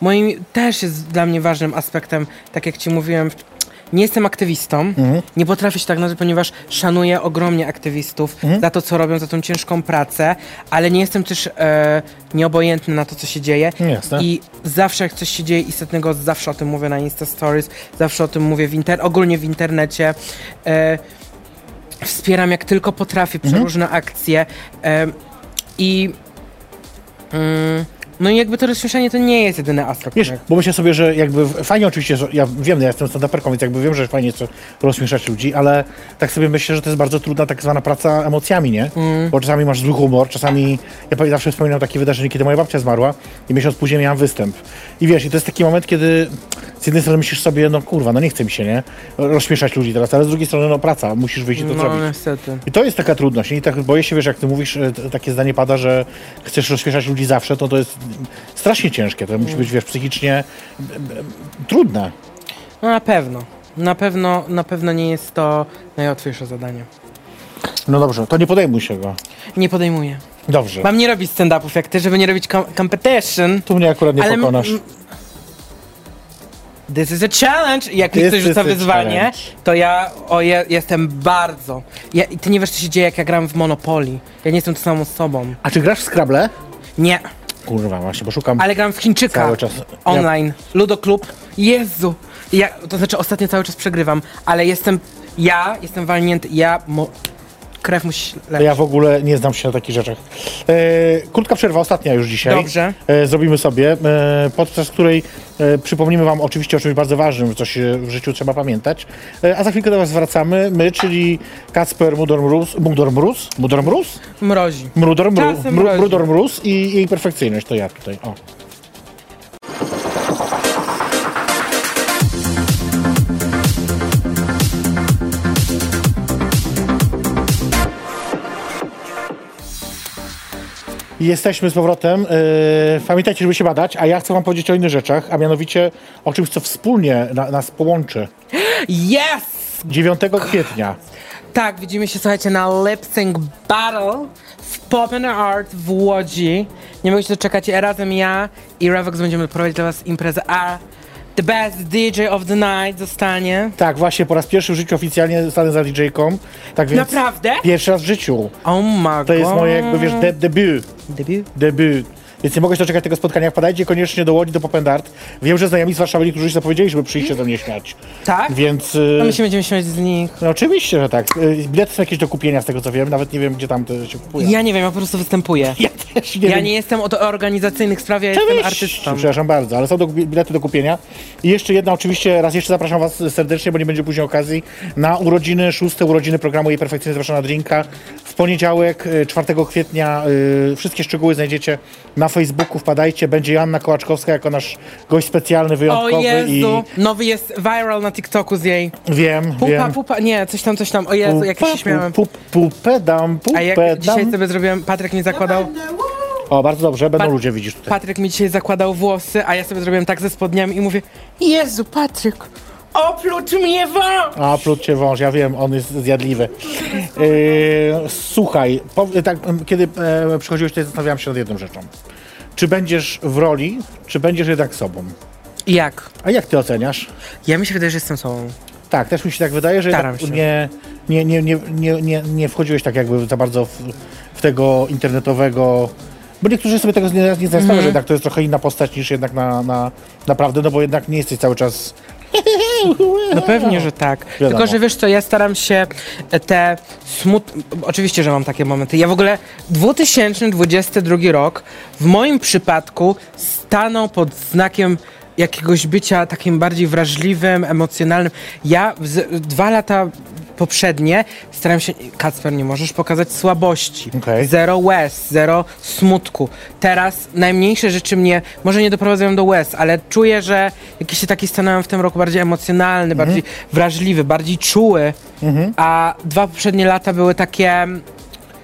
[SPEAKER 3] Moim też jest dla mnie ważnym aspektem, tak jak ci mówiłem, nie jestem aktywistą, nie potrafię się tak nazwać, ponieważ szanuję ogromnie aktywistów za to, co robią, za tą ciężką pracę, ale nie jestem też e, nieobojętny na to, co się dzieje.
[SPEAKER 2] Jasne.
[SPEAKER 3] I zawsze jak coś się dzieje istotnego, zawsze o tym mówię na Insta Stories, zawsze o tym mówię w inter- ogólnie w internecie. E, wspieram jak tylko potrafię
[SPEAKER 2] Mhm.
[SPEAKER 3] przeróżne akcje em, i mm, no i jakby to rozśmieszanie to nie jest jedyny aspekt.
[SPEAKER 2] Wiesz,
[SPEAKER 3] tak?
[SPEAKER 2] bo myślę sobie, że jakby fajnie oczywiście, że- ja wiem, no ja jestem stand-uperką, więc jakby wiem, że fajnie jest rozśmieszać ludzi, ale tak sobie myślę, że to jest bardzo trudna tak zwana praca emocjami, nie?
[SPEAKER 3] Mm.
[SPEAKER 2] Bo czasami masz zły humor, czasami, ja pamię- zawsze wspominam takie wydarzenie, kiedy moja babcia zmarła i miesiąc później miałam występ. I wiesz, i to jest taki moment, kiedy z jednej strony myślisz sobie, no kurwa, no nie chce mi się, nie? Rozśmieszać ludzi teraz, ale z drugiej strony, no praca, musisz wyjść i to
[SPEAKER 3] no
[SPEAKER 2] zrobić.
[SPEAKER 3] niestety.
[SPEAKER 2] I to jest taka trudność. I tak boję się, wiesz, jak ty mówisz, e, t- takie zdanie pada, że chcesz rozśmieszać ludzi zawsze, to to jest strasznie ciężkie. To musi być, wiesz, psychicznie b- b- trudne.
[SPEAKER 3] No na pewno. Na pewno, na pewno nie jest to najłatwiejsze zadanie.
[SPEAKER 2] No dobrze, to nie podejmuj się go.
[SPEAKER 3] Nie podejmuję.
[SPEAKER 2] Dobrze.
[SPEAKER 3] Mam nie robić stand-upów jak ty, żeby nie robić com- competition.
[SPEAKER 2] Tu mnie akurat nie
[SPEAKER 3] ale m-
[SPEAKER 2] pokonasz.
[SPEAKER 3] m- This is a challenge! I Jak
[SPEAKER 2] This
[SPEAKER 3] mi ktoś
[SPEAKER 2] is
[SPEAKER 3] rzuca
[SPEAKER 2] a
[SPEAKER 3] wyzwanie,
[SPEAKER 2] challenge.
[SPEAKER 3] to ja, o, ja jestem bardzo... Ja, ty nie wiesz, co się dzieje, jak ja gram w Monopoly. Ja nie jestem tą samą osobą.
[SPEAKER 2] A czy grasz w Scrabble?
[SPEAKER 3] Nie,
[SPEAKER 2] Kurwa, właśnie, bo szukam.
[SPEAKER 3] ale gram w Chińczyka.
[SPEAKER 2] Cały czas.
[SPEAKER 3] Online. Ludo Klub. Jezu. Ja, to znaczy ostatnio cały czas przegrywam, ale jestem... Ja jestem walnięty. Ja... Mo, krew musi
[SPEAKER 2] Ja,
[SPEAKER 3] lecieć.
[SPEAKER 2] ja w ogóle nie znam się na takich rzeczach. E, krótka przerwa, ostatnia już dzisiaj.
[SPEAKER 3] Dobrze.
[SPEAKER 2] E, zrobimy sobie, e, podczas której e, przypomnimy Wam oczywiście o czymś bardzo ważnym, coś e, w życiu trzeba pamiętać. E, a za chwilkę do Was wracamy, my, czyli Kacper Mudormrus, Mudormrus, Mudormrus?
[SPEAKER 3] Mrozi.
[SPEAKER 2] Mrudormrus,
[SPEAKER 3] Czasem mrozi.
[SPEAKER 2] Mrudormrus i jej perfekcyjność, to ja tutaj, o. Jesteśmy z powrotem. Yy, pamiętajcie, żeby się badać, a ja chcę wam powiedzieć o innych rzeczach, a mianowicie o czymś, co wspólnie na, nas połączy.
[SPEAKER 3] Yes!
[SPEAKER 2] 9 kwietnia.
[SPEAKER 3] Tak, widzimy się, słuchajcie, na Lip Sync Battle w Poppin Art w Łodzi. Nie mogę się doczekać. Razem ja i Revox będziemy prowadzić dla was imprezę A. The best DJ of the night zostanie.
[SPEAKER 2] Tak, właśnie po raz pierwszy w życiu oficjalnie zostanę za DJ-ką. Tak więc
[SPEAKER 3] Naprawdę?
[SPEAKER 2] Pierwszy raz w życiu.
[SPEAKER 3] Oh my god.
[SPEAKER 2] To jest moje, jakby wiesz, de- debut.
[SPEAKER 3] Debiut?
[SPEAKER 2] Debut. Więc nie mogę się doczekać tego spotkania. Wpadajcie koniecznie do Łodzi, do Popendart. Wiem, że znajomi z Warszawy, którzy się zapowiedzieli, żeby przyjść się ze mnie śmiać.
[SPEAKER 3] Tak?
[SPEAKER 2] Więc... y,
[SPEAKER 3] No my się będziemy śmiać z nich.
[SPEAKER 2] No oczywiście, że tak. Y, Bilety są jakieś do kupienia, z tego co wiem. Nawet nie wiem, gdzie tam to się kupuje.
[SPEAKER 3] Ja nie wiem, ja po prostu występuję.
[SPEAKER 2] Ja też nie
[SPEAKER 3] Ja
[SPEAKER 2] wiem.
[SPEAKER 3] nie jestem od organizacyjnych spraw, ja jestem
[SPEAKER 2] Cześć!
[SPEAKER 3] artystą.
[SPEAKER 2] Przepraszam bardzo, ale są do, bilety do kupienia. I jeszcze jedna, oczywiście, raz jeszcze zapraszam Was serdecznie, bo nie będzie później okazji, na urodziny, szóste urodziny programu Jej Perfekcyjnie Zapraszam na Drinka. W poniedziałek, y, 4 kwietnia, y, wszystkie szczegóły znajdziecie na Facebooku wpadajcie, będzie Joanna Kołaczkowska jako nasz gość specjalny, wyjątkowy
[SPEAKER 3] O Jezu,
[SPEAKER 2] i
[SPEAKER 3] nowy jest viral na TikToku z jej.
[SPEAKER 2] wiem,
[SPEAKER 3] Pupa,
[SPEAKER 2] wiem.
[SPEAKER 3] pupa, nie, coś tam, coś tam. O Jezu, jak się śmiałem.
[SPEAKER 2] Pu, pu, pedam,
[SPEAKER 3] A jak
[SPEAKER 2] pupę
[SPEAKER 3] dzisiaj
[SPEAKER 2] dam.
[SPEAKER 3] sobie zrobiłem, Patryk mi zakładał,
[SPEAKER 2] O, bardzo dobrze, będą
[SPEAKER 3] Pat-
[SPEAKER 2] ludzie, widzisz tutaj.
[SPEAKER 3] Patryk mi dzisiaj zakładał włosy, a ja sobie zrobiłem tak ze spodniami i mówię Jezu, Patryk, opluć mnie wam!
[SPEAKER 2] A, plucie wąż, ja wiem, on jest zjadliwy. Yy, słuchaj, pow- tak, em, kiedy e, przychodziłeś tutaj, zastanawiałem się nad jedną rzeczą. Czy będziesz w roli, czy będziesz jednak sobą?
[SPEAKER 3] Jak?
[SPEAKER 2] A jak ty oceniasz?
[SPEAKER 3] Ja mi się wydaje, że jestem sobą.
[SPEAKER 2] Tak, też mi się tak wydaje, że
[SPEAKER 3] Staram
[SPEAKER 2] jednak
[SPEAKER 3] się.
[SPEAKER 2] Nie, nie, nie, nie, nie, nie, nie wchodziłeś tak jakby za bardzo w, w tego internetowego. Bo niektórzy sobie tego nie, nie zdają
[SPEAKER 3] Mhm.
[SPEAKER 2] sprawy, że jednak to jest trochę inna postać niż jednak na, na naprawdę, no bo jednak nie jesteś cały czas.
[SPEAKER 3] No pewnie, że tak.
[SPEAKER 2] Wiadomo.
[SPEAKER 3] Tylko, że wiesz co, ja staram się te smutne... Oczywiście, że mam takie momenty. Ja w ogóle 2022 rok w moim przypadku stanął pod znakiem jakiegoś bycia takim bardziej wrażliwym, emocjonalnym. Ja z, dwa lata poprzednie starałem się... Kacper, nie możesz pokazać słabości.
[SPEAKER 2] Okej.
[SPEAKER 3] Zero łez, zero smutku. Teraz najmniejsze rzeczy mnie, może nie doprowadzają do łez, ale czuję, że jakiś się taki stanąłem w tym roku bardziej emocjonalny,
[SPEAKER 2] Mhm.
[SPEAKER 3] bardziej wrażliwy, bardziej czuły. A dwa poprzednie lata były takie mm,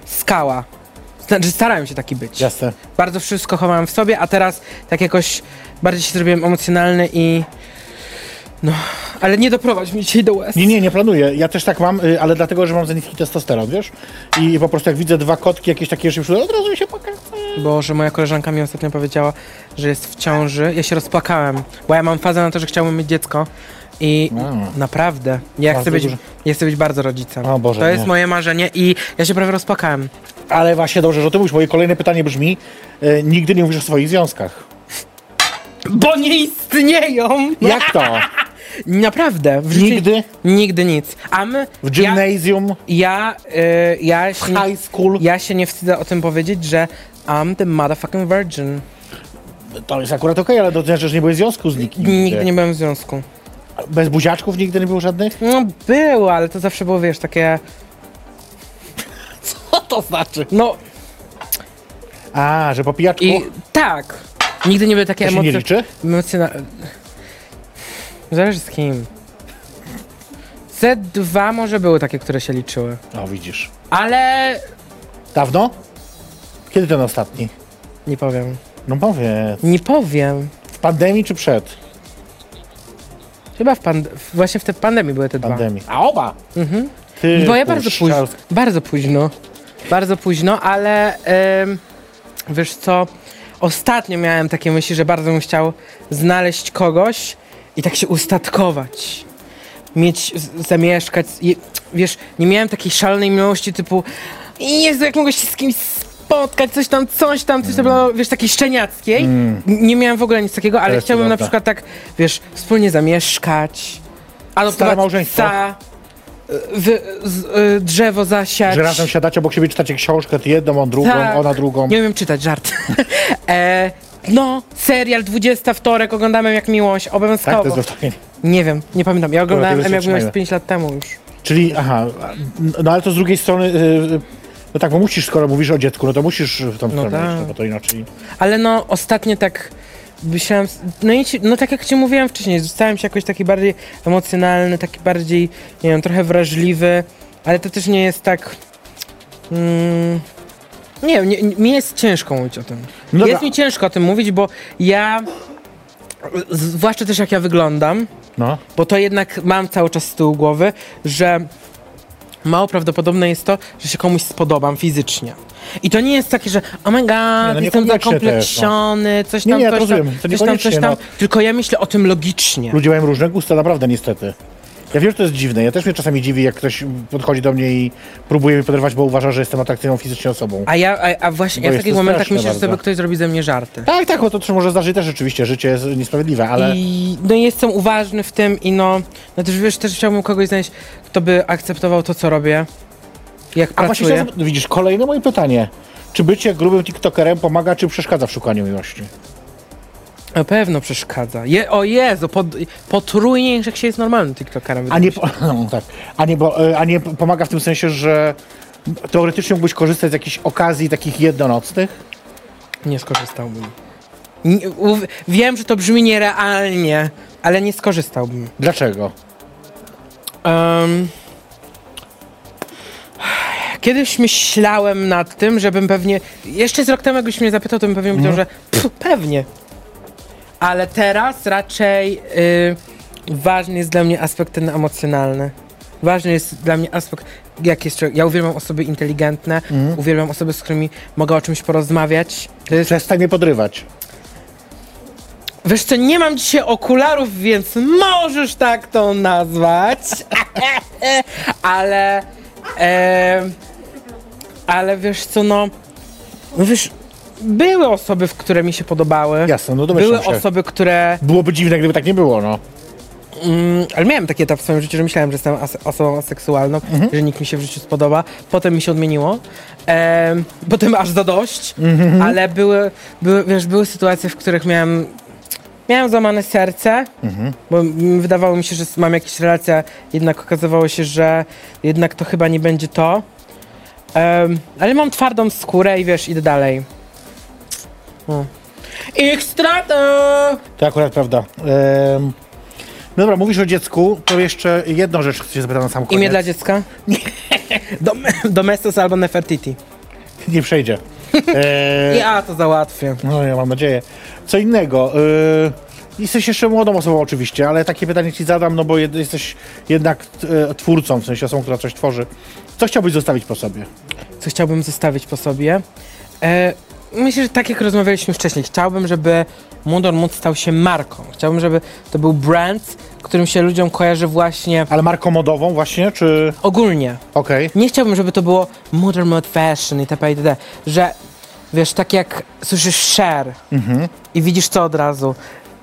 [SPEAKER 3] skała. Znaczy starałem się taki być.
[SPEAKER 2] Jasne.
[SPEAKER 3] Bardzo wszystko chowałem w sobie, a teraz tak jakoś bardziej się zrobiłem emocjonalny i no, ale nie doprowadź mnie dzisiaj do łez.
[SPEAKER 2] Nie, nie, nie planuję. Ja też tak mam, y, ale dlatego, że mam za niski testosteron, wiesz? I po prostu jak widzę dwa kotki, jakieś takie rzeczy, od razu mi się pokaże.
[SPEAKER 3] Boże, moja koleżanka mi ostatnio powiedziała, że jest w ciąży. Ja się rozpłakałem, bo ja mam fazę na to, że chciałbym mieć dziecko. I naprawdę, ja
[SPEAKER 2] Bardzo
[SPEAKER 3] chcę, być,
[SPEAKER 2] duże.
[SPEAKER 3] ja chcę być bardzo rodzicem.
[SPEAKER 2] O Boże,
[SPEAKER 3] to jest
[SPEAKER 2] nie.
[SPEAKER 3] moje marzenie i ja się prawie rozpłakałem.
[SPEAKER 2] Ale właśnie dobrze, że o tym mówisz. Moje kolejne pytanie brzmi, y, nigdy nie mówisz o swoich związkach.
[SPEAKER 3] Bo nie istnieją!
[SPEAKER 2] Jak to?
[SPEAKER 3] Naprawdę. W życiu-
[SPEAKER 2] Nigdy?
[SPEAKER 3] Nigdy nic. A my...
[SPEAKER 2] W gimnazjum,
[SPEAKER 3] Ja, ja, y, ja, się, nie-
[SPEAKER 2] high school?
[SPEAKER 3] ja się nie wstydzę o tym powiedzieć, że I'm the motherfucking virgin.
[SPEAKER 2] To jest akurat okej, ale to znaczy, że nie byłeś w związku z nikim.
[SPEAKER 3] Nigdy nie byłem w związku.
[SPEAKER 2] Bez buziaczków nigdy nie było żadnych?
[SPEAKER 3] No był, ale to zawsze było, wiesz, takie...
[SPEAKER 2] Co to znaczy?
[SPEAKER 3] No,
[SPEAKER 2] A, że po pijaczku?
[SPEAKER 3] I tak. Nigdy nie były takie
[SPEAKER 2] To się nie liczy?
[SPEAKER 3] emocjonalne. Zależy z kim. Z2 może były takie, które się liczyły.
[SPEAKER 2] O, No, widzisz.
[SPEAKER 3] Ale
[SPEAKER 2] Dawno? Kiedy ten ostatni?
[SPEAKER 3] nie powiem.
[SPEAKER 2] No powiedz.
[SPEAKER 3] Nie powiem.
[SPEAKER 2] W pandemii czy przed
[SPEAKER 3] Chyba w pand- w- właśnie w tej pandemii były te dwa.
[SPEAKER 2] pandemii? A oba! Ty,
[SPEAKER 3] Bo ja bardzo późno.
[SPEAKER 2] kurczalsk-
[SPEAKER 3] Bardzo późno. Bardzo późno, ale ym, wiesz co? Ostatnio miałem takie myśli, że bardzo bym chciał znaleźć kogoś i tak się ustatkować. Mieć, z- zamieszkać. I, wiesz, nie miałem takiej szalonej miłości typu Jezu, jak mogę się z kimś spotkać, coś tam, coś tam, coś tam,
[SPEAKER 2] Mm.
[SPEAKER 3] no, wiesz, takiej szczeniackiej. Nie miałem w ogóle nic takiego, ale
[SPEAKER 2] jest
[SPEAKER 3] chciałbym na
[SPEAKER 2] prawda.
[SPEAKER 3] przykład tak, wiesz, wspólnie zamieszkać. Adoptować
[SPEAKER 2] małżeństwo.
[SPEAKER 3] psa, wy, z, y, drzewo zasiać.
[SPEAKER 2] Że razem siadacie obok siebie, czytacie książkę, ty jedną, on drugą,
[SPEAKER 3] Tak.
[SPEAKER 2] ona drugą.
[SPEAKER 3] Nie umiem czytać, żart. e, no, serial 20 wtorek, oglądamy jak miłość,
[SPEAKER 2] tak, to
[SPEAKER 3] obowiązkowo.
[SPEAKER 2] jest dostanie.
[SPEAKER 3] nie wiem, nie pamiętam. Ja oglądałem
[SPEAKER 2] tego się
[SPEAKER 3] M jak miłość
[SPEAKER 2] trzymajmy.
[SPEAKER 3] 5 lat temu już.
[SPEAKER 2] Czyli, aha, no ale to z drugiej strony... Yy, no tak, bo musisz, skoro mówisz o dziecku, no to musisz w tą stronę
[SPEAKER 3] tak.
[SPEAKER 2] iść, no bo to inaczej.
[SPEAKER 3] Ale no, ostatnio tak myślałem, no i ci, no tak jak ci mówiłem wcześniej, zostałem się jakoś taki bardziej emocjonalny, taki bardziej, nie wiem, trochę wrażliwy, ale to też nie jest tak... Mm, nie, wiem, nie, nie, mi jest ciężko mówić o tym.
[SPEAKER 2] dobra.
[SPEAKER 3] jest mi ciężko o tym mówić, bo ja, zwłaszcza też jak ja wyglądam,
[SPEAKER 2] No.
[SPEAKER 3] bo to jednak mam cały czas z tyłu głowy, że mało prawdopodobne jest to, że się komuś spodobam fizycznie. I to nie jest takie, że oh my god,
[SPEAKER 2] no
[SPEAKER 3] jestem
[SPEAKER 2] niekoniecznie
[SPEAKER 3] zakompleksiony, coś
[SPEAKER 2] Nie,
[SPEAKER 3] tam,
[SPEAKER 2] nie, ja
[SPEAKER 3] coś, tam,
[SPEAKER 2] rozumiem, to
[SPEAKER 3] coś tam, coś
[SPEAKER 2] niekoniecznie, no.
[SPEAKER 3] tam, tylko ja myślę o tym logicznie.
[SPEAKER 2] Ludzie mają różne gusta, naprawdę niestety. Ja wiem, że to jest dziwne. Ja też mnie czasami dziwi, jak ktoś podchodzi do mnie i próbuje mi poderwać, bo uważa, że jestem atrakcyjną fizycznie osobą.
[SPEAKER 3] A ja, a, a właśnie,
[SPEAKER 2] Bo
[SPEAKER 3] ja w
[SPEAKER 2] jest
[SPEAKER 3] takich
[SPEAKER 2] to
[SPEAKER 3] momentach
[SPEAKER 2] straszne
[SPEAKER 3] myślę, że sobie
[SPEAKER 2] bardzo.
[SPEAKER 3] ktoś zrobi ze mnie żarty.
[SPEAKER 2] Tak, tak, bo to też może zdarzyć też rzeczywiście. Życie jest niesprawiedliwe, ale
[SPEAKER 3] I no jestem uważny w tym i no, no też wiesz, też chciałbym kogoś znaleźć, kto by akceptował to, co robię, jak
[SPEAKER 2] A właśnie
[SPEAKER 3] pracuję.
[SPEAKER 2] chciałem- widzisz, kolejne moje pytanie. Czy bycie grubym tiktokerem pomaga, czy przeszkadza w szukaniu miłości?
[SPEAKER 3] Na pewno przeszkadza. Je, o Jezu, pod, potrójnie, że się jest normalnym TikTokerem.
[SPEAKER 2] A nie, po- no, tak. a, nie, bo, y, a nie pomaga w tym sensie, że teoretycznie mógłbyś korzystać z jakichś okazji takich jednonocnych?
[SPEAKER 3] Nie skorzystałbym. Nie, uw- wiem, że to brzmi nierealnie, ale nie skorzystałbym.
[SPEAKER 2] Dlaczego?
[SPEAKER 3] Em, kiedyś myślałem nad tym, żebym pewnie. Jeszcze z rok temu, jakbyś mnie zapytał, to bym pewnie powiedział, że pff, pewnie. Ale teraz raczej y, ważny jest dla mnie aspekt ten emocjonalny. Ważny jest dla mnie aspekt, jak jest człowiek. Ja uwielbiam osoby inteligentne, uwielbiam osoby, z którymi mogę o czymś porozmawiać. To jest
[SPEAKER 2] Przestań mnie podrywać.
[SPEAKER 3] Wiesz co, nie mam dzisiaj okularów, więc możesz tak to nazwać. ale. E, ale wiesz co, no. no Wiesz, były osoby, w które mi się podobały.
[SPEAKER 2] Jasne, no domyślam
[SPEAKER 3] Były
[SPEAKER 2] się.
[SPEAKER 3] osoby, które.
[SPEAKER 2] Byłoby dziwne, gdyby tak nie było, no.
[SPEAKER 3] Mm, ale miałem taki etap w swoim życiu, że myślałem, że jestem ase- osobą aseksualną, że nikt mi się w życiu spodoba. Potem mi się odmieniło. Em, potem aż za dość. Ale były, były, wiesz, były sytuacje, w których miałem, miałem złamane serce, bo mm, wydawało mi się, że mam jakieś relacje, jednak okazywało się, że jednak to chyba nie będzie to. Em, ale mam twardą skórę i wiesz, idę dalej. O. Ich strata!
[SPEAKER 2] To akurat prawda. Ehm, no dobra, mówisz o dziecku, to jeszcze jedną rzecz chcę cię zapytać na sam koniec.
[SPEAKER 3] Imię dla dziecka? Nie. Dom, Domestos albo Nefertiti.
[SPEAKER 2] Nie przejdzie. Ehm,
[SPEAKER 3] Ja to załatwię.
[SPEAKER 2] No ja mam nadzieję. Co innego. Y, jesteś jeszcze młodą osobą oczywiście, ale takie pytanie ci zadam, no bo jed, jesteś jednak y, twórcą, w sensie osobą, która coś tworzy. Co chciałbyś zostawić po sobie?
[SPEAKER 3] Co chciałbym zostawić po sobie? E, myślę, że tak jak rozmawialiśmy wcześniej, chciałbym, żeby Mundor Mund stał się marką. Chciałbym, żeby to był brand, którym się ludziom kojarzy właśnie
[SPEAKER 2] Ale marką modową właśnie, czy...
[SPEAKER 3] ogólnie.
[SPEAKER 2] Okej.
[SPEAKER 3] Nie chciałbym, żeby to było Modern Mode Fashion itp. itd. Że wiesz, tak jak słyszysz share
[SPEAKER 2] Mhm.
[SPEAKER 3] i widzisz co od razu.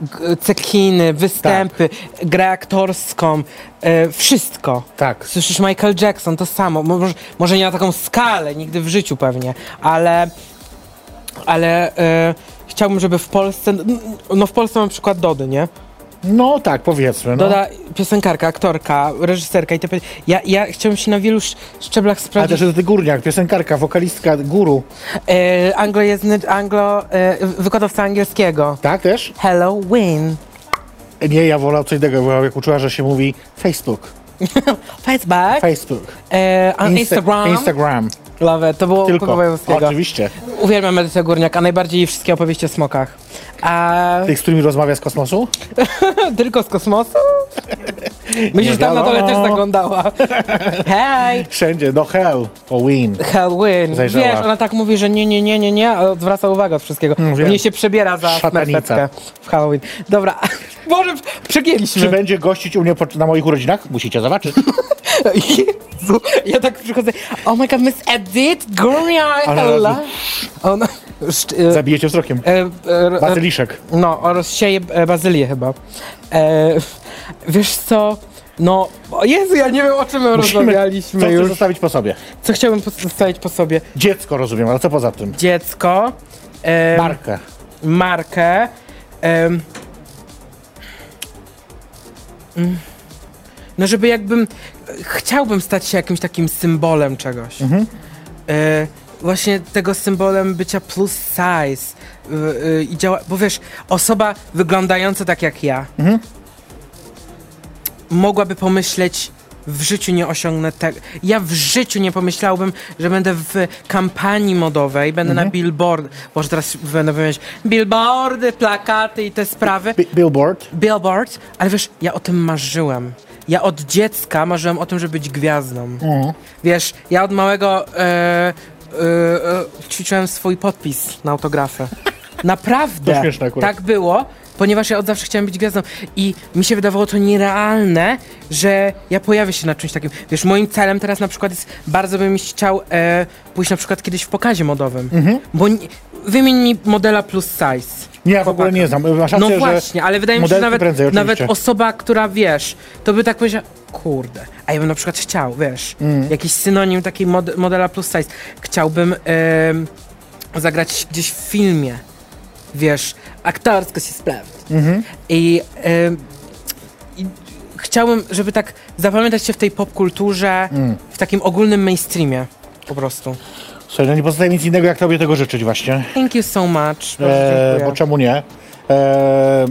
[SPEAKER 3] G- Cekiny, występy, grę aktorską, e, wszystko.
[SPEAKER 2] Tak.
[SPEAKER 3] Słyszysz Michael Jackson, to samo. Mo- Może, może nie na taką skalę, nigdy w życiu pewnie, ale, ale e, chciałbym, żeby w Polsce, no w Polsce mam przykład Dody, nie?
[SPEAKER 2] No tak, powiedzmy. No.
[SPEAKER 3] Doda, piosenkarka, aktorka, reżyserka i itp. Ja, ja chciałbym się na wielu sz- szczeblach
[SPEAKER 2] Ale
[SPEAKER 3] sprawdzić.
[SPEAKER 2] też ty górniak, piosenkarka, wokalistka, guru.
[SPEAKER 3] E, anglojęzny, anglo, e, wykładowca angielskiego.
[SPEAKER 2] Tak też?
[SPEAKER 3] Halloween.
[SPEAKER 2] Nie, ja wolał co innego, bo jak uczyła, że się mówi Facebook.
[SPEAKER 3] Facebook.
[SPEAKER 2] Facebook.
[SPEAKER 3] E, a
[SPEAKER 2] Insta-
[SPEAKER 3] Instagram.
[SPEAKER 2] Instagram.
[SPEAKER 3] Love it. To było
[SPEAKER 2] Tylko.
[SPEAKER 3] Kowalewskiego.
[SPEAKER 2] Oczywiście.
[SPEAKER 3] Uwielbiam Edycję Górniak, a najbardziej jej wszystkie opowieści o smokach. A
[SPEAKER 2] Tych, z którymi rozmawia z kosmosu?
[SPEAKER 3] tylko z kosmosu? Myślisz, że tam na dole też
[SPEAKER 2] wiadomo.
[SPEAKER 3] zaglądała. Hej!
[SPEAKER 2] Wszędzie, no hell, Halloween.
[SPEAKER 3] Halloween.
[SPEAKER 2] Zajrzała.
[SPEAKER 3] Wiesz, ona tak mówi, że nie, nie, nie, nie, nie, a odwraca uwagę od wszystkiego.
[SPEAKER 2] Mm, wiem.
[SPEAKER 3] Mnie się przebiera za
[SPEAKER 2] Szatanica.
[SPEAKER 3] smerfetkę w Halloween. Dobra, może przegięliśmy.
[SPEAKER 2] Czy będzie gościć u mnie pod- na moich urodzinach? Musicie zobaczyć.
[SPEAKER 3] Jezu, ja tak przychodzę. Oh my god, Miss Edith, Gloria,
[SPEAKER 2] Ale
[SPEAKER 3] Ella. Ona. szt- e,
[SPEAKER 2] Zabijecie wzrokiem.
[SPEAKER 3] e, e, e,
[SPEAKER 2] Bazyliszek.
[SPEAKER 3] No, o, rozsieje e, bazylię chyba. E, wiesz co? No, o Jezu, ja nie wiem o czym my
[SPEAKER 2] co
[SPEAKER 3] rozmawialiśmy
[SPEAKER 2] chcesz
[SPEAKER 3] już.
[SPEAKER 2] zostawić po sobie?
[SPEAKER 3] Co chciałbym pos- zostawić po sobie?
[SPEAKER 2] Dziecko rozumiem, ale co poza tym?
[SPEAKER 3] Dziecko, e,
[SPEAKER 2] Markę.
[SPEAKER 3] markę. e, em, mm, no, żeby jakbym. Chciałbym stać się jakimś takim symbolem czegoś. E, właśnie tego symbolem bycia plus size. y, y, I działa, bo wiesz, osoba wyglądająca tak jak ja mogłaby pomyśleć. W życiu nie osiągnę tego. Ja w życiu nie pomyślałbym, że będę w kampanii modowej, będę na billboard. Boże, teraz będę wymieniać billboardy, plakaty i te sprawy.
[SPEAKER 2] Bi- billboard.
[SPEAKER 3] Billboard, ale wiesz, ja o tym marzyłem. Ja od dziecka marzyłem o tym, żeby być gwiazdą.
[SPEAKER 2] Mm.
[SPEAKER 3] Wiesz, ja od małego e, e, e, ćwiczyłem swój podpis na autografę.
[SPEAKER 2] To
[SPEAKER 3] Naprawdę.
[SPEAKER 2] śmieszne akurat.
[SPEAKER 3] tak było, ponieważ ja od zawsze chciałem być gwiazdą. I mi się wydawało to nierealne, że ja pojawię się na czymś takim. Wiesz, moim celem teraz na przykład jest, bardzo bym chciał e, pójść na przykład kiedyś w pokazie modowym.
[SPEAKER 2] Mhm.
[SPEAKER 3] Bo nie, wymień mi modela plus size.
[SPEAKER 2] Nie, ja w ogóle nie znam. Masz rację,
[SPEAKER 3] No
[SPEAKER 2] że
[SPEAKER 3] właśnie, ale wydaje mi się, że
[SPEAKER 2] modelki
[SPEAKER 3] nawet,
[SPEAKER 2] prędzej,
[SPEAKER 3] nawet
[SPEAKER 2] oczywiście.
[SPEAKER 3] osoba, która wiesz, to by tak powiedziała, kurde, a ja bym na przykład chciał, wiesz,
[SPEAKER 2] Mm.
[SPEAKER 3] jakiś synonim takiej mod modela plus size. Chciałbym em, zagrać gdzieś w filmie, wiesz, aktorsko się sprawdzi.
[SPEAKER 2] Mhm.
[SPEAKER 3] I, em, I chciałbym, żeby tak
[SPEAKER 2] Mm.
[SPEAKER 3] zapamiętać się w tej popkulturze, w takim ogólnym mainstreamie po prostu.
[SPEAKER 2] Słuchaj, no nie pozostaje mi nic innego, jak tobie tego życzyć właśnie.
[SPEAKER 3] Thank you so much. Bardzo
[SPEAKER 2] E,
[SPEAKER 3] dziękuję.
[SPEAKER 2] bo czemu nie? E, m-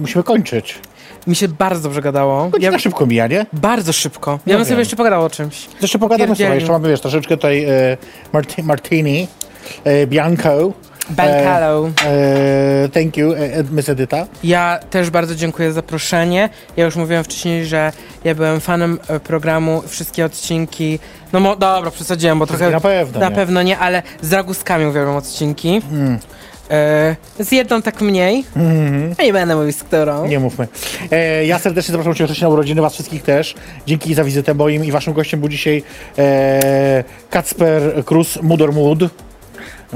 [SPEAKER 2] musimy kończyć.
[SPEAKER 3] Mi się bardzo dobrze gadało.
[SPEAKER 2] Godzina
[SPEAKER 3] Ja,
[SPEAKER 2] szybko mija, nie?
[SPEAKER 3] bardzo szybko. Ja
[SPEAKER 2] No
[SPEAKER 3] bym sobie
[SPEAKER 2] wiem.
[SPEAKER 3] jeszcze pogadała o czymś.
[SPEAKER 2] Jeszcze pogadamy
[SPEAKER 3] Pierdzielił.
[SPEAKER 2] sobie, jeszcze mamy wiesz, troszeczkę tutaj e, Marti, Martini, e, Bianco.
[SPEAKER 3] Biancalo.
[SPEAKER 2] E, e, thank you, e, e, Miss Edyta.
[SPEAKER 3] Ja też bardzo dziękuję za zaproszenie. Ja już mówiłem wcześniej, że ja byłem fanem e, programu, wszystkie odcinki. No mo, dobra, przesadziłem, bo trochę.
[SPEAKER 2] na pewno
[SPEAKER 3] Na
[SPEAKER 2] nie. Hmm.
[SPEAKER 3] pewno nie, ale z raguskami uwielbiam odcinki. E, z jedną tak mniej. A nie będę mówił z którą.
[SPEAKER 2] Mhm. Nie mówmy. E, ja serdecznie zapraszam Cię wcześniej na urodziny, Was wszystkich też. Dzięki za wizytę moim i Waszym gościem był dzisiaj e, Kacper Krus, Mudor Mood.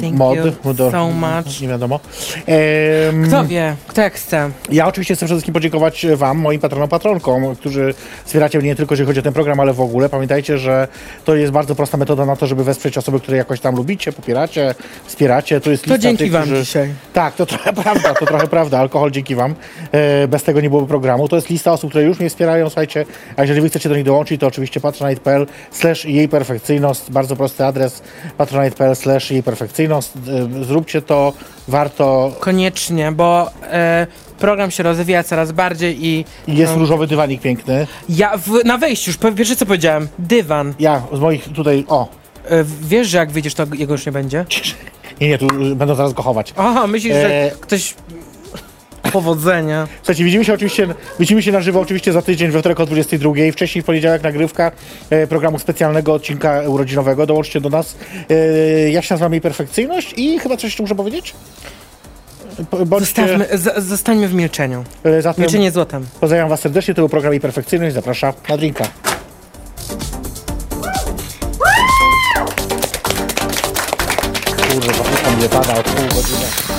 [SPEAKER 3] Thank you so much.
[SPEAKER 2] Nie wiadomo. E, Em,
[SPEAKER 3] Kto wie, kto jak chce.
[SPEAKER 2] Ja oczywiście chcę przede wszystkim podziękować e, Wam, moim patronom, patronkom, którzy wspieracie mnie nie tylko jeżeli chodzi o ten program, ale w ogóle. Pamiętajcie, że to jest bardzo prosta metoda na to, żeby wesprzeć osoby, które jakoś tam lubicie, popieracie, wspieracie. To jest
[SPEAKER 3] To
[SPEAKER 2] lista
[SPEAKER 3] dzięki
[SPEAKER 2] tych,
[SPEAKER 3] wam
[SPEAKER 2] którzy...
[SPEAKER 3] dzisiaj.
[SPEAKER 2] Tak, to trochę prawda, to trochę prawda. Alkohol dzięki wam. E, bez tego nie byłoby programu. To jest lista osób, które już mnie wspierają, słuchajcie. A jeżeli wy chcecie do nich dołączyć, to oczywiście patronite.pl slash jej perfekcyjność. Bardzo prosty adres patronite.pl slash jej perfekcyjność. E, Zróbcie to, warto.
[SPEAKER 3] Koniecznie, bo e, program się rozwija coraz bardziej i.
[SPEAKER 2] Jest
[SPEAKER 3] no,
[SPEAKER 2] różowy dywanik piękny.
[SPEAKER 3] ja w, na wejściu już, po- wiesz co powiedziałem? Dywan.
[SPEAKER 2] Ja z moich tutaj, o,
[SPEAKER 3] E, wiesz, że jak wyjdziesz, to jego już nie będzie?
[SPEAKER 2] nie, nie, tu y, będą zaraz go chować.
[SPEAKER 3] Aha, myślisz,
[SPEAKER 2] E,
[SPEAKER 3] że ktoś... Powodzenia.
[SPEAKER 2] Słuchajcie, widzimy się oczywiście, widzimy się na żywo oczywiście za tydzień, we wtorek o 22. Wcześniej w poniedziałek nagrywka e, programu specjalnego odcinka urodzinowego. Dołączcie do nas. E, ja się nazywam jej perfekcyjność i chyba coś jeszcze muszę powiedzieć? P- Bądźcie,
[SPEAKER 3] Zostawmy, znaczy z, zostańmy w milczeniu.
[SPEAKER 2] e, zatem
[SPEAKER 3] Milczenie złotem.
[SPEAKER 2] pozdrawiam was serdecznie, to był program jej perfekcyjność. Zapraszam na drinka. Kurwa, tam nie pada od pół godziny.